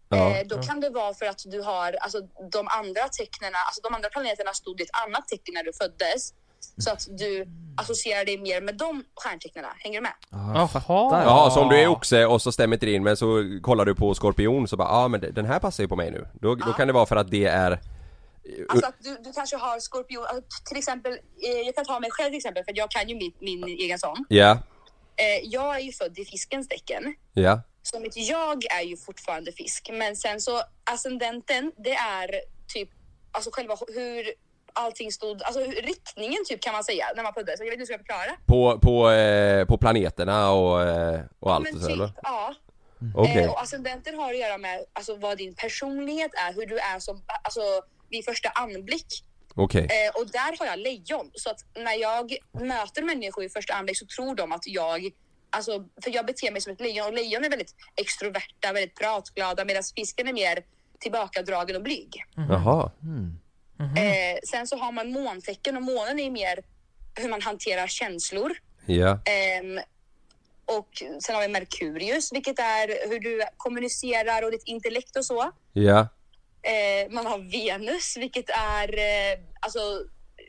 Speaker 3: ja.
Speaker 6: eh, då kan det vara för att du har alltså, de andra tecknena, alltså de andra planeterna stod i ett annat tecken när du föddes. Så att du associerar dig mer med de stjärntecknena. Hänger du med?
Speaker 4: Ah,
Speaker 5: Jaha!
Speaker 3: Jaha, så om du är oxe och så stämmer inte det in men så kollar du på skorpion så bara ja ah, men den här passar ju på mig nu. Då, då kan det vara för att det är
Speaker 6: Alltså att du, du kanske har skorpion, alltså, till exempel, eh, jag kan ta mig själv till exempel för att jag kan ju min, min egen sån.
Speaker 3: Ja,
Speaker 6: Eh, jag är ju född i fiskens tecken.
Speaker 3: ja,
Speaker 6: Så mitt jag är ju fortfarande fisk. Men sen så ascendenten, det är typ alltså själva h- hur allting stod, alltså hur, riktningen typ kan man säga när man föddes. Jag vet inte hur jag ska förklara.
Speaker 3: på, på, eh, på planeterna och, eh, och allt och
Speaker 6: Men
Speaker 3: så eller?
Speaker 6: typ, ja.
Speaker 3: Okej,
Speaker 6: Eh, och ascendenten har att göra med alltså, vad din personlighet är, hur du är som, alltså vid första anblick.
Speaker 3: okej,
Speaker 6: Eh, och där har jag lejon. Så att när jag möter människor i första anblick så tror de att jag, alltså, för jag beter mig som ett lejon och lejon är väldigt extroverta, väldigt pratglada medan fisken är mer tillbakadragen och blyg.
Speaker 3: jaha,
Speaker 6: Eh, sen så har man måntecken och månen är mer hur man hanterar känslor.
Speaker 3: ja,
Speaker 6: Ehm, och sen har vi Merkurius, vilket är hur du kommunicerar och ditt intellekt och så.
Speaker 3: ja,
Speaker 6: Eh, man har Venus, vilket är eh, alltså,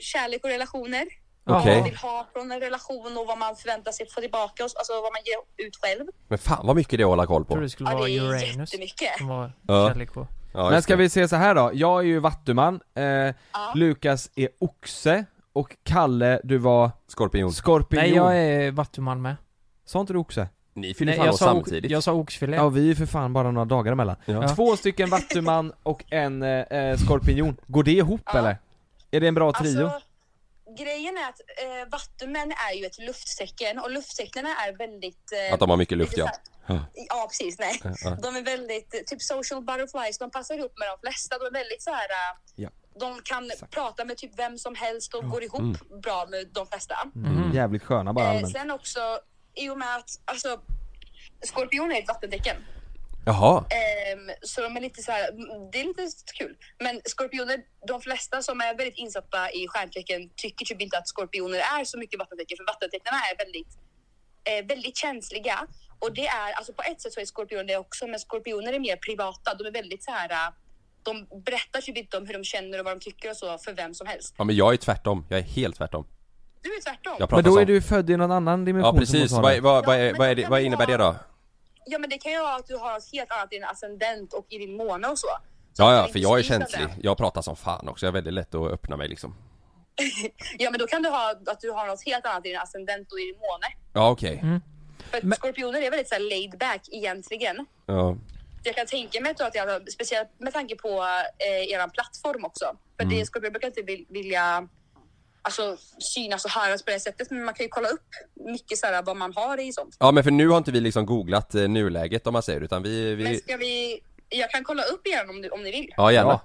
Speaker 6: kärlek och relationer.
Speaker 3: okej.
Speaker 6: Vad man vill ha från en relation och vad man förväntar sig att få tillbaka, och, så- alltså vad man ger ut själv.
Speaker 3: Men fan vad mycket det är att hålla koll
Speaker 5: Jag trodde
Speaker 3: på.
Speaker 5: det skulle
Speaker 6: Ja,
Speaker 5: vara
Speaker 6: det är
Speaker 5: Uranus.
Speaker 6: jättemycket.
Speaker 5: Som var
Speaker 3: Ja.
Speaker 5: kärlek på.
Speaker 3: Ja,
Speaker 4: Men
Speaker 3: just
Speaker 4: ska
Speaker 3: det.
Speaker 4: vi se så här då, jag är ju Vattuman, eh, Lukas är oxe och Kalle, du var
Speaker 3: Skorpion.
Speaker 4: skorpion.
Speaker 5: Nej jag är vattuman med.
Speaker 4: Sa inte du oxe?
Speaker 3: Ni fyller
Speaker 5: Nej,
Speaker 3: fan år
Speaker 5: jag, sa, o-
Speaker 3: samtidigt.
Speaker 5: jag sa oxfilé.
Speaker 4: Ja, vi är för fan bara några dagar emellan.
Speaker 3: Ja.
Speaker 4: Två stycken Vattuman och en eh, eh, skorpion. Går det ihop
Speaker 6: Ja.
Speaker 4: eller? Är det en bra trio?
Speaker 6: Alltså, grejen är att eh, vattumän är ju ett lufttecken och lufttecknen är väldigt... eh,
Speaker 3: Att de har mycket
Speaker 6: lite
Speaker 3: luft ja.
Speaker 6: så här- Ja, precis. Nej.
Speaker 3: ja.
Speaker 6: De är väldigt, eh, typ social butterflies, de passar ihop med de flesta. De är väldigt så här, eh,
Speaker 4: Ja.
Speaker 6: de kan prata med typ vem som helst och går ihop bra med de flesta.
Speaker 4: Jävligt sköna bara
Speaker 6: Eh,
Speaker 4: allmänt.
Speaker 6: sen också, i och med att, alltså, skorpioner är ett vattentecken.
Speaker 3: Jaha.
Speaker 6: Ehm, så de är lite så här, mm, det är lite kul. Men skorpioner, de flesta som är väldigt insatta i stjärntecken tycker typ inte att skorpioner är så mycket vattentecken, för vattentecknarna är väldigt, eh, väldigt känsliga. Och det är, alltså på ett sätt så är skorpioner det också, men skorpioner är mer privata. De är väldigt så här, eh, de berättar typ inte om hur de känner och vad de tycker och så för vem som helst.
Speaker 3: Ja men jag är tvärtom, jag är helt tvärtom.
Speaker 6: Du är tvärtom.
Speaker 3: Jag pratar
Speaker 4: Men då
Speaker 5: Alltså.
Speaker 4: är
Speaker 3: som-
Speaker 4: du född i någon annan dimension
Speaker 3: Ja
Speaker 4: som
Speaker 3: precis,
Speaker 4: hon sa
Speaker 3: vad,
Speaker 4: det.
Speaker 3: vad, vad,
Speaker 6: Ja,
Speaker 3: är-
Speaker 6: men
Speaker 3: vad, är
Speaker 6: då
Speaker 3: det,
Speaker 6: kan
Speaker 3: vad
Speaker 6: det
Speaker 3: innebär det då?
Speaker 6: Ja men det kan ju vara att du har något helt annat i din ascendent och i din måne och så. Så
Speaker 3: Ja
Speaker 6: att
Speaker 3: ja,
Speaker 6: det
Speaker 3: för jag är
Speaker 6: styrs av det.
Speaker 3: känslig. Jag pratar som fan också, jag är väldigt lätt att öppna mig liksom.
Speaker 6: Ja men då kan du ha att du har något helt annat i din ascendent och i din måne.
Speaker 3: Ja okej.
Speaker 4: Mm.
Speaker 6: För att skorpioner är väldigt så här laid back egentligen.
Speaker 3: Ja.
Speaker 6: Jag kan tänka mig att jag hade, speciellt med tanke på eh, eran plattform också. För det skorpioner brukar inte vil, vilja alltså, synas och höras på det sättet. Men man kan ju kolla upp mycket så här, vad man har i sånt.
Speaker 3: ja men för nu har inte vi liksom googlat eh, nuläget om man säger utan vi...
Speaker 6: Men
Speaker 3: vi...
Speaker 6: ska vi... Jag kan kolla upp igen om, du, om ni vill.
Speaker 3: Ja gärna.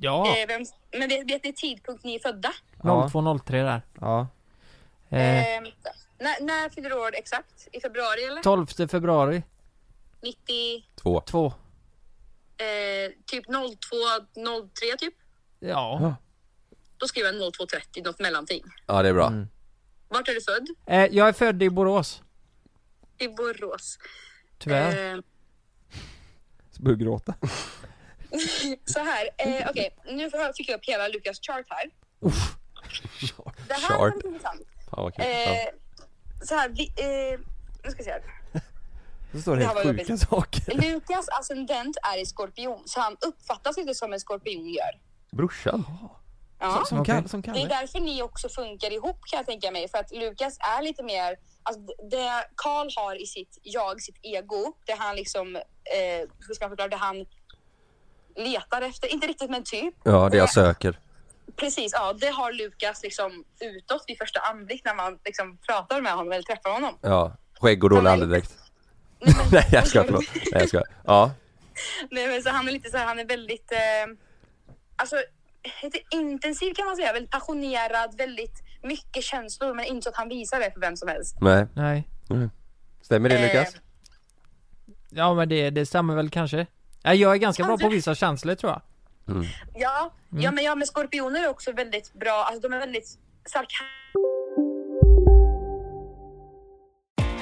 Speaker 5: Ja,
Speaker 6: Eh, vem, men vet, vet ni tidpunkt ni är födda?
Speaker 4: Ja.
Speaker 5: 0203 där.
Speaker 4: Ja.
Speaker 5: Eh,
Speaker 6: Eh, när, när fyller du år exakt? I februari eller?
Speaker 5: 12 februari
Speaker 6: 90...
Speaker 3: Två.
Speaker 5: 2.
Speaker 6: Eh, typ 02, 03 typ.
Speaker 5: Ja.
Speaker 6: Då skriver jag 02.30, något mellanting.
Speaker 3: Ja det är bra.
Speaker 4: Mm.
Speaker 6: Vart är du född?
Speaker 5: Eh, jag är född i Borås,
Speaker 6: I Borås.
Speaker 5: tyvärr.
Speaker 6: Eh,
Speaker 4: Så börjar du gråta.
Speaker 6: så här, eh, okej, nu får jag- fick jag upp hela Lukas chart här. Det här
Speaker 3: Chart.
Speaker 6: var lite intressant.
Speaker 3: Fan vad kul. Ja.
Speaker 6: Eh, så här, vi, eh, nu ska vi se här.
Speaker 4: Så står det
Speaker 6: Det här
Speaker 4: helt
Speaker 6: var
Speaker 4: sjuka
Speaker 6: jobbigt.
Speaker 4: saker.
Speaker 6: Lukas ascendent är i skorpion, så han uppfattas inte som en skorpion gör.
Speaker 3: Brorsan?
Speaker 6: Ja.
Speaker 4: Som,
Speaker 5: Okej.
Speaker 4: Kalle- som
Speaker 6: Det är
Speaker 4: Kalle.
Speaker 6: därför ni också funkar ihop kan jag tänka mig. För att Lukas är lite mer, alltså det Karl har i sitt jag, sitt ego, det han liksom, eh, hur ska man förklara, det han letar efter, inte riktigt men typ.
Speaker 3: Ja det jag söker.
Speaker 6: Precis, ja det har Lukas liksom utåt vid första anblick när man liksom pratar med honom eller träffar honom.
Speaker 3: Ja. Skägg och dålig andedräkt.
Speaker 6: Nej, men,
Speaker 3: Nej jag ska förlåt. Nej jag ska. Ja.
Speaker 6: nej, men så han är lite så här, han är väldigt, eh, alltså lite intensiv kan man säga, väldigt passionerad, väldigt mycket känslor men inte så att han visar det för vem som helst.
Speaker 3: Nej.
Speaker 5: Nej.
Speaker 3: Stämmer det
Speaker 6: Eh,
Speaker 3: Lukas?
Speaker 5: Ja men det, det stämmer väl kanske. Ja, jag är ganska bra
Speaker 6: Kanske.
Speaker 5: på vissa känslor tror jag.
Speaker 6: Ja,
Speaker 3: Mm.
Speaker 6: ja, men, ja, men skorpioner är också väldigt bra. Alltså, de är väldigt sarkastiska.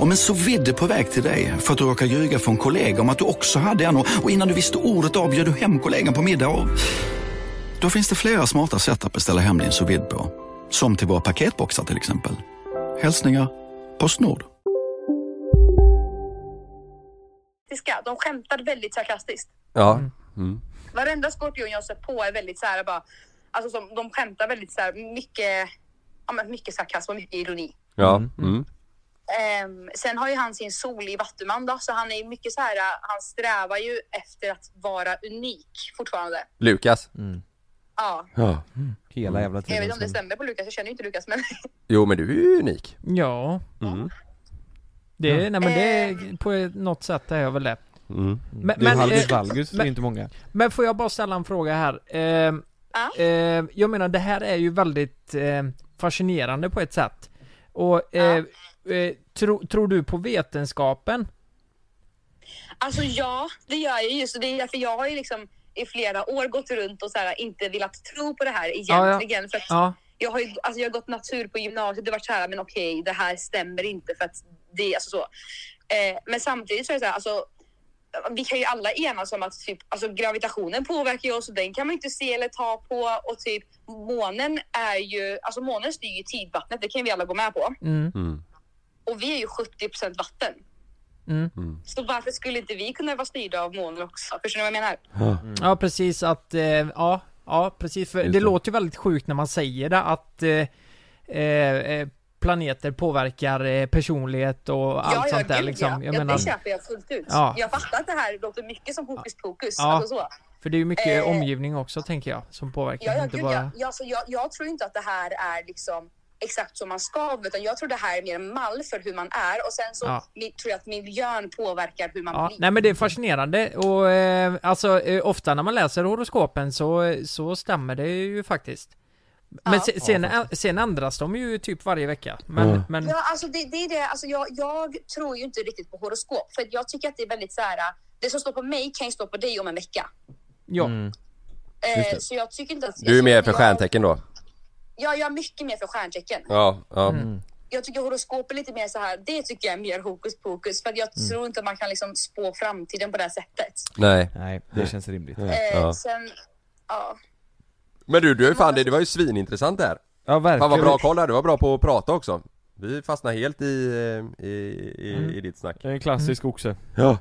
Speaker 7: Om en så vidde på väg till dig för att du råkar ljuga från kollega om att du också hade en och och innan du visste ordet av bjöd du hem kollegan på middag och... Då finns det flera smarta sätt att beställa hem din sous vide på. Som till våra paketboxar till exempel. Hälsningar Postnord.
Speaker 6: De skämtar väldigt sarkastiskt.
Speaker 3: Ja. Mm.
Speaker 6: Varenda skorpion jag sett på är väldigt så här bara, alltså som, de skämtar väldigt så här mycket, ja, men mycket sarkasm och mycket ironi.
Speaker 3: Ja. Mm.
Speaker 6: Ehm, sen har ju han sin sol i Vattuman då, så han är ju mycket så här, äh, han strävar ju efter att vara unik fortfarande.
Speaker 3: Lukas?
Speaker 4: Mm.
Speaker 6: Ja,
Speaker 3: Ja.
Speaker 4: Hela jävla
Speaker 6: jag vet inte
Speaker 4: tiden.
Speaker 6: om det stämmer på Lukas, jag känner ju inte Lukas men
Speaker 3: Jo men du är ju unik.
Speaker 5: Ja. Det, nej men det, på ett- något sätt är jag väl det.
Speaker 3: Mm.
Speaker 5: Men,
Speaker 4: Du är
Speaker 5: men, eh,
Speaker 4: Halgus Valgus, det är inte många.
Speaker 5: men får jag bara ställa en fråga här? Eh,
Speaker 6: Ja.
Speaker 5: eh, jag menar det här är ju väldigt eh, fascinerande på ett sätt. Och eh, eh, tro, tror du på vetenskapen?
Speaker 6: Alltså ja, det gör jag ju. Så det är därför jag har ju liksom i flera år gått runt och så här, inte velat tro på det här
Speaker 5: ja.
Speaker 6: egentligen. För att
Speaker 5: Ja.
Speaker 6: jag, har ju, alltså, jag har gått natur på gymnasiet och varit så här, men okej, det här stämmer inte för att det är alltså så. Eh, men samtidigt så är det så här, alltså, vi kan ju alla enas om att typ, alltså, gravitationen påverkar ju oss och den kan man inte se eller ta på. Och typ månen är ju, alltså månen styr ju tidvattnet, det kan vi alla gå med på.
Speaker 5: Mm.
Speaker 6: Och vi är ju 70% vatten.
Speaker 5: Mm.
Speaker 6: Så varför skulle inte vi kunna vara styrda av månen också? Förstår ni vad jag menar?
Speaker 5: Mm. Ja precis att, eh, ja, ja precis. För det,
Speaker 8: Just det.
Speaker 5: låter ju väldigt sjukt när man säger det att eh, eh, eh, planeter påverkar eh, personlighet och allt sånt där
Speaker 6: gud,
Speaker 5: liksom.
Speaker 6: ja.
Speaker 5: Jag
Speaker 6: ja,
Speaker 5: menar,
Speaker 6: det köper jag fullt ut.
Speaker 5: Ja.
Speaker 6: Jag fattar att det här låter mycket som hokus pokus.
Speaker 5: Ja.
Speaker 6: Alltså så.
Speaker 5: för det är ju mycket
Speaker 6: Eh,
Speaker 5: omgivning också tänker jag som påverkar.
Speaker 6: Ja, ja,
Speaker 5: inte
Speaker 6: gud,
Speaker 5: bara...
Speaker 6: ja, ja, så jag, jag tror inte att det här är liksom exakt som man ska, utan jag tror det här är mer en mall för hur man är och sen så
Speaker 5: Ja.
Speaker 6: mi- tror jag att miljön påverkar hur man
Speaker 5: Ja,
Speaker 6: blir.
Speaker 5: nej men det är fascinerande och eh, alltså eh, ofta när man läser horoskopen så, så stämmer det ju faktiskt. Men
Speaker 6: Ja.
Speaker 5: se,
Speaker 6: Ja,
Speaker 5: sen, sen ändras de ju typ varje vecka. Men,
Speaker 6: Ja.
Speaker 5: men
Speaker 6: Ja, alltså det, det är det. Alltså jag, jag tror ju inte riktigt på horoskop, för jag tycker att det är väldigt så här. Det som står på mig kan ju stå på dig om en vecka.
Speaker 5: ja.
Speaker 3: Mm. Just
Speaker 6: Eh,
Speaker 3: det.
Speaker 6: så jag tycker inte att... jag
Speaker 3: Du är
Speaker 6: tycker
Speaker 3: mer
Speaker 6: att
Speaker 3: för
Speaker 6: jag-
Speaker 3: stjärntecken då?
Speaker 6: Ja, jag är mycket mer för stjärntecken.
Speaker 3: Ja, ja.
Speaker 4: Mm.
Speaker 6: Jag tycker horoskop är lite mer så här, det tycker jag är mer hokus pokus. För att jag
Speaker 3: Mm.
Speaker 6: tror inte att man kan liksom spå framtiden på det här sättet.
Speaker 3: Nej.
Speaker 4: Nej, det känns rimligt.
Speaker 6: Eh,
Speaker 3: Ja.
Speaker 6: Sen, ja.
Speaker 3: Men du, du är ju fan det, det var ju svinintressant det här.
Speaker 4: Ja verkligen.
Speaker 3: Fan vad bra koll här, du var bra på att prata också. Vi fastnar helt i, eh, i, i,
Speaker 4: Mm.
Speaker 3: i ditt snack.
Speaker 4: Det är en
Speaker 5: Mm.
Speaker 4: klassisk oxe.
Speaker 3: Ja.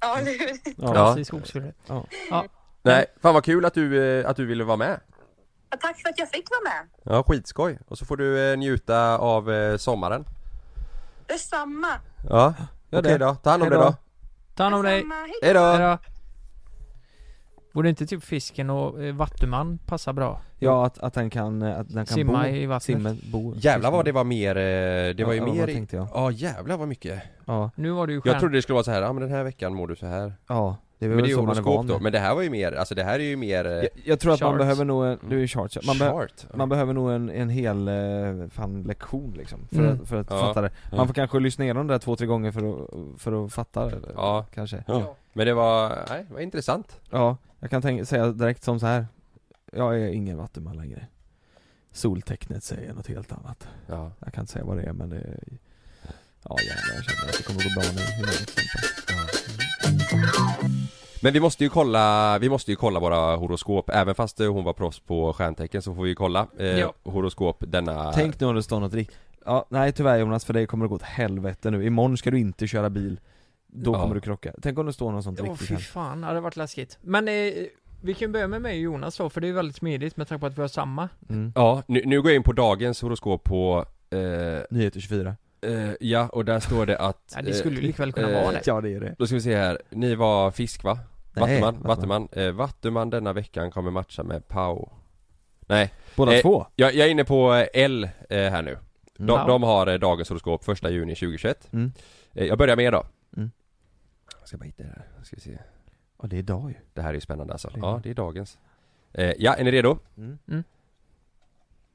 Speaker 6: Ja, eller hur?
Speaker 3: Ja.
Speaker 5: Klassisk oxfilé.
Speaker 4: Ja.
Speaker 5: Ja.
Speaker 3: Nej, fan vad kul att du, eh, att du ville vara med.
Speaker 6: Ja, Tack för att jag fick vara med.
Speaker 3: Ja, skitskoj. Och så får du eh, njuta av eh, sommaren.
Speaker 6: Detsamma.
Speaker 3: Ja,
Speaker 5: Gör
Speaker 3: okej
Speaker 5: det.
Speaker 3: då. Ta hand om
Speaker 5: Hej
Speaker 3: dig
Speaker 5: då.
Speaker 3: då.
Speaker 5: Ta hand om dig.
Speaker 3: Hej då.
Speaker 5: Borde inte typ fisken och eh, vattuman passa bra?
Speaker 4: Ja att, att han kan, eh, att han kan
Speaker 5: Simma
Speaker 4: bo,
Speaker 5: i vattnet.
Speaker 4: Simma, bo.
Speaker 3: Jävlar vad det var mer, eh, det var ju
Speaker 4: Ja,
Speaker 3: mer
Speaker 4: vad
Speaker 3: i-
Speaker 4: tänkte jag?
Speaker 3: Ja jävlar vad mycket
Speaker 4: Ja.
Speaker 5: Nu var det ju
Speaker 3: Jag
Speaker 5: stjärn-
Speaker 3: trodde det skulle vara så här, ja men den här veckan mår du så här
Speaker 4: Ja, det är väl
Speaker 3: Men det är ju
Speaker 4: så man är van
Speaker 3: horoskop då,
Speaker 4: med.
Speaker 3: men det här var ju mer, alltså det här är ju mer eh,
Speaker 4: Jag, jag tror att man
Speaker 3: chart.
Speaker 4: behöver nog en, du är chart, ja. man, behöver
Speaker 3: Chart,
Speaker 4: man behöver nog en, en hel, eh, fan lektion liksom för
Speaker 3: Mm.
Speaker 4: att, för att
Speaker 3: Ja.
Speaker 4: fatta det
Speaker 3: Ja.
Speaker 4: Man får kanske lyssna igenom det där två, tre gånger för att, för att fatta det,
Speaker 3: Ja.
Speaker 4: kanske
Speaker 3: Ja. Men det var, nej, det var intressant
Speaker 4: Ja, jag kan tänka, säga direkt som så här. Jag är ingen vattenman längre Soltecknet säger något helt annat
Speaker 3: ja.
Speaker 4: Jag kan inte säga vad det är men det är... Ja jävlar jag känner att det kommer gå bra nu hur länge till
Speaker 3: Men vi måste ju kolla, vi måste ju kolla våra horoskop Även fast eh, hon var proffs på stjärntecken så får vi ju kolla eh,
Speaker 4: Ja.
Speaker 3: horoskop denna
Speaker 4: Tänk nu om det står något riktigt Ja, nej tyvärr Jonas för dig kommer det gå åt helvete nu Imorgon ska du inte köra bil Då
Speaker 3: Ja.
Speaker 4: kommer du krocka Tänk om det står något sånt
Speaker 5: Åh
Speaker 4: riktigt
Speaker 5: fy
Speaker 4: här.
Speaker 5: fan, ja, det hade varit läskigt. Men eh, vi kan ju börja med mig och Jonas då, för det är ju väldigt smidigt med tanke på att vi har samma.
Speaker 3: Ja, nu, nu går jag in på dagens horoskop på eh,
Speaker 4: Nyheter 24
Speaker 3: eh, Ja, och där står det att
Speaker 5: Ja, det skulle
Speaker 3: eh,
Speaker 5: ju likväl kunna vara det.
Speaker 4: Ja det är det
Speaker 3: Då ska vi se här, ni var fisk va?
Speaker 4: Nej,
Speaker 3: Vattuman,
Speaker 4: Vattuman.
Speaker 3: Vattuman, eh, Vattuman denna veckan kommer matcha med Pau Nej
Speaker 4: Båda
Speaker 3: eh,
Speaker 4: två?
Speaker 3: Jag, jag är inne på eh, L eh, här nu De,
Speaker 4: Mm.
Speaker 3: de har eh, dagens horoskop första juni 2021
Speaker 4: Mm.
Speaker 3: eh, Jag börjar med er då
Speaker 4: Mm.
Speaker 3: Jag ska bara hitta det här, ska vi se
Speaker 4: Ja det är idag ju
Speaker 3: Det här är ju spännande alltså,
Speaker 4: Det är-
Speaker 3: ja det är dagens eh, Ja, är ni redo?
Speaker 4: Mm.
Speaker 5: Mm.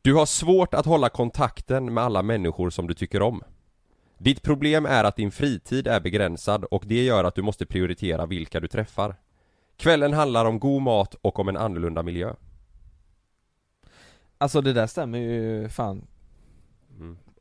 Speaker 3: Du har svårt att hålla kontakten med alla människor som du tycker om Ditt problem är att din fritid är begränsad och det gör att du måste prioritera vilka du träffar Kvällen handlar om god mat och om en annorlunda miljö
Speaker 4: Alltså det där stämmer ju fan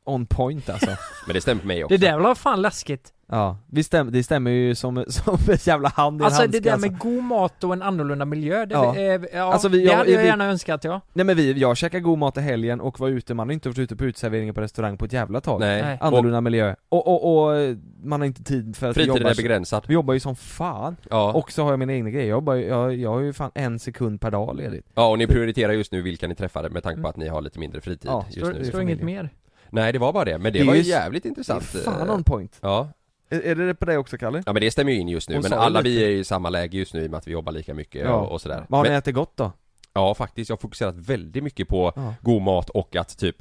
Speaker 4: On point alltså
Speaker 3: Men det stämmer på mig också
Speaker 5: Det där var fan läskigt.
Speaker 4: Ja, vi stäm, det stämmer ju som, som en jävla hand i en
Speaker 5: Alltså det
Speaker 4: handske
Speaker 5: där
Speaker 4: alltså.
Speaker 5: med god mat och en annorlunda miljö, det,
Speaker 4: Ja.
Speaker 5: ja. Ja,
Speaker 4: Alltså, vi-
Speaker 5: det
Speaker 4: jag-
Speaker 5: hade jag
Speaker 4: vi-
Speaker 5: gärna önskat ja.
Speaker 4: Nej men vi, jag käkade god mat i helgen och var ute, man har inte varit ute på uteserveringar på restaurang på ett jävla tag
Speaker 3: Nej.
Speaker 5: Nej.
Speaker 4: Annorlunda miljö, och, och, och man har inte tid för att vi
Speaker 3: Fritiden
Speaker 4: jobbar
Speaker 3: är
Speaker 4: så-
Speaker 3: begränsad.
Speaker 4: Vi jobbar ju som fan,
Speaker 3: Ja.
Speaker 4: och så har jag mina egna grejer, jag, jobbar, ju- jag, jag har ju fan en sekund per dag ledigt
Speaker 3: Ja och ni prioriterar just nu vilka ni träffade med tanke på att ni har lite mindre fritid
Speaker 4: Ja,
Speaker 3: just
Speaker 5: Det
Speaker 3: nu
Speaker 5: står inget mer.
Speaker 3: Nej det var bara det, men det,
Speaker 4: Det är
Speaker 3: var ju
Speaker 4: ju-
Speaker 3: jävligt
Speaker 4: Det är
Speaker 3: intressant
Speaker 4: fan
Speaker 3: eh,
Speaker 4: on point
Speaker 3: Ja,
Speaker 4: Är, är det det på dig också Kalle?
Speaker 3: ja men det stämmer ju in just nu
Speaker 4: Hon
Speaker 3: men
Speaker 4: sa ju
Speaker 3: alla
Speaker 4: lite.
Speaker 3: vi är ju i samma läge just nu i och med att vi jobbar lika mycket och, och sådär
Speaker 4: Vad har ni
Speaker 3: men,
Speaker 4: ätit gott då?
Speaker 3: Ja faktiskt, jag har fokuserat väldigt mycket på
Speaker 4: Ja.
Speaker 3: god mat och att typ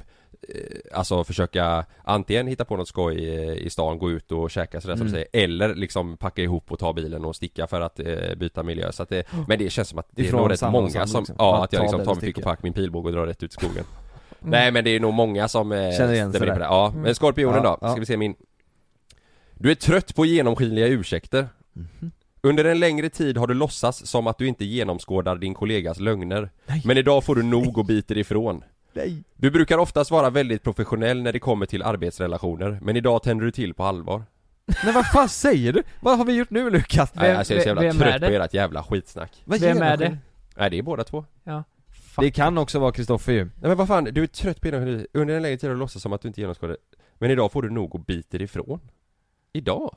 Speaker 3: eh, Alltså försöka antingen hitta på något skoj eh, i stan, gå ut och käka sådär som du
Speaker 4: Mm.
Speaker 3: säger Eller liksom packa ihop och ta bilen och sticka för att eh, byta miljö så att det, Men det känns som att det är
Speaker 4: Ifrån
Speaker 3: nog rätt
Speaker 4: samma och
Speaker 3: många
Speaker 4: samma,
Speaker 3: som,
Speaker 4: liksom.
Speaker 3: ja
Speaker 4: Bara
Speaker 3: att jag
Speaker 4: ta
Speaker 3: liksom
Speaker 4: den
Speaker 3: tar
Speaker 4: och
Speaker 3: min pick och
Speaker 4: sticka.
Speaker 3: pack, min pilbåge och drar rätt ut i skogen Nej men det är nog många som eh,
Speaker 4: Mm. Känner igen sig
Speaker 3: stämmer in på
Speaker 4: där.
Speaker 3: det. Ja, men
Speaker 4: Mm.
Speaker 3: Skorpionen
Speaker 4: Ja,
Speaker 3: då, ska
Speaker 4: ja.
Speaker 3: vi se min Du är trött på genomskinliga ursäkter Under en längre tid har du låtsas som att du inte genomskådar din kollegas lögner. Men idag får du nog och biter ifrån.
Speaker 4: Nej.
Speaker 3: Du brukar oftast vara väldigt professionell när det kommer till arbetsrelationer, men idag tänder du till på allvar.
Speaker 4: Men vad fan säger du? Vad har vi gjort nu Lukas?
Speaker 3: Nej, alltså jag är så jävla trött på ert jävla skitsnack.
Speaker 4: Vad Vem jävla är skit? det?
Speaker 3: Nej, det är båda två.
Speaker 5: Ja.
Speaker 4: Det kan också vara Kristoffer ju.
Speaker 3: Nej men vad fan, du är trött på genomskådning. Under en längre tid har du låtsats som att du inte genomskådar Men idag får du nog och biter ifrån. Idag?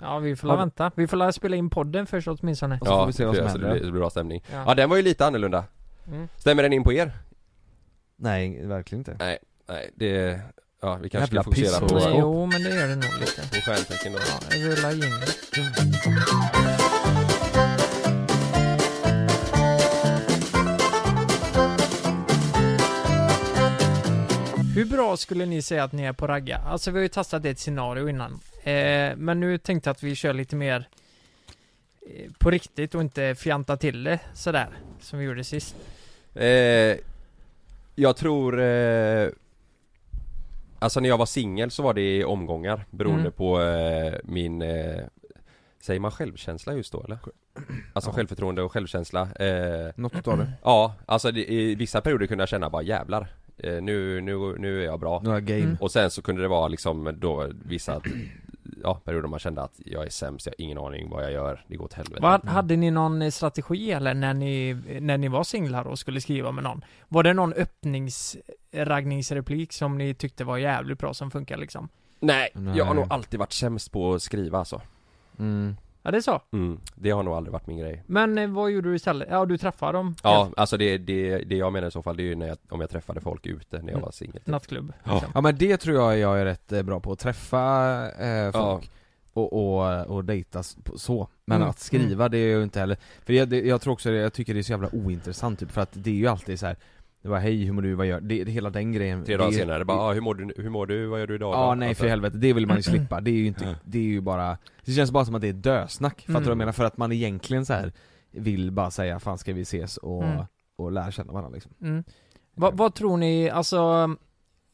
Speaker 5: Ja, vi får la vänta. Vi får la spela in podden först åtminstone.
Speaker 3: ja, så det blir- Det blir bra stämning.
Speaker 5: Ja.
Speaker 3: Ja. den var ju lite annorlunda.
Speaker 5: Mm.
Speaker 3: Stämmer den in på er?
Speaker 4: Nej, verkligen inte.
Speaker 3: Nej, nej det... Ja, vi kanske
Speaker 4: Jävla
Speaker 3: ska fokusera på...
Speaker 4: pissskåp.
Speaker 5: Jo, men det gör det nog lite.
Speaker 3: På stjärntecken då.
Speaker 5: Rulla jingel. Hur bra skulle ni säga att ni är på ragga? Alltså vi har ju testat ett scenario innan. Eh, men nu tänkte jag att vi kör lite mer eh, på riktigt och inte fjanta till det sådär. Som vi gjorde sist.
Speaker 3: Eh, jag tror... Eh, alltså när jag var singel så var det i omgångar beroende
Speaker 5: Mm.
Speaker 3: på eh, min... Eh, säger man självkänsla just då eller? Alltså självförtroende och självkänsla. Eh,
Speaker 4: Något av det.
Speaker 3: Ja, alltså det, i vissa perioder kunde jag känna bara jävlar. Eh, nu, nu, nu är jag bra.
Speaker 4: Nu är jag game. Mm.
Speaker 3: Och sen så kunde det vara liksom då vissa ja, perioder man kände att jag är sämst, jag har ingen aning vad jag gör, det går åt helvete.
Speaker 5: Vad, hade ni någon eh, strategi eller när ni, när ni var singlar och skulle skriva med någon? Var det någon öppningsraggningsreplik som ni tyckte var jävligt bra som funkar liksom?
Speaker 3: Nej,
Speaker 4: Nej.
Speaker 3: jag har nog alltid varit sämst på att skriva alltså.
Speaker 4: Mm.
Speaker 5: Ja det är så.
Speaker 3: Mm, det har nog aldrig varit min grej.
Speaker 5: Men eh, vad gjorde du istället? Ja du träffade dem?
Speaker 3: Ja, alltså det, det, det jag menar i så fall det är ju när jag, om jag träffade folk ute när jag var singel.
Speaker 5: Nattklubb? liksom.
Speaker 3: Ja.
Speaker 4: Ja men det tror jag jag är rätt eh, bra på, att träffa eh,
Speaker 3: Ja.
Speaker 4: folk och, och, och dejta s- på- så. Men
Speaker 5: Mm.
Speaker 4: att skriva det är jag ju inte heller, för jag, det, jag tror också det, jag tycker det är så jävla ointressant typ, för att det är ju alltid så här. Det var hej, hur mår du, vad gör du? Det- Hela den grejen
Speaker 3: Tre dagar
Speaker 4: det,
Speaker 3: senare, bara ah, hur, mår du, hur mår du, vad gör du idag?
Speaker 4: Ja
Speaker 3: då?"
Speaker 4: nej
Speaker 3: Alltså,
Speaker 4: för helvete, det vill man ju
Speaker 5: Mm.
Speaker 4: slippa. Det är ju inte, det är ju bara Det känns bara som att det är dösnack, fattar du vad jag
Speaker 5: Mm.
Speaker 4: menar? För att man egentligen så här vill bara säga 'Fan ska vi ses?' och,
Speaker 5: Mm.
Speaker 4: och lära känna varandra liksom.
Speaker 5: Mm. Va, vad tror ni, alltså,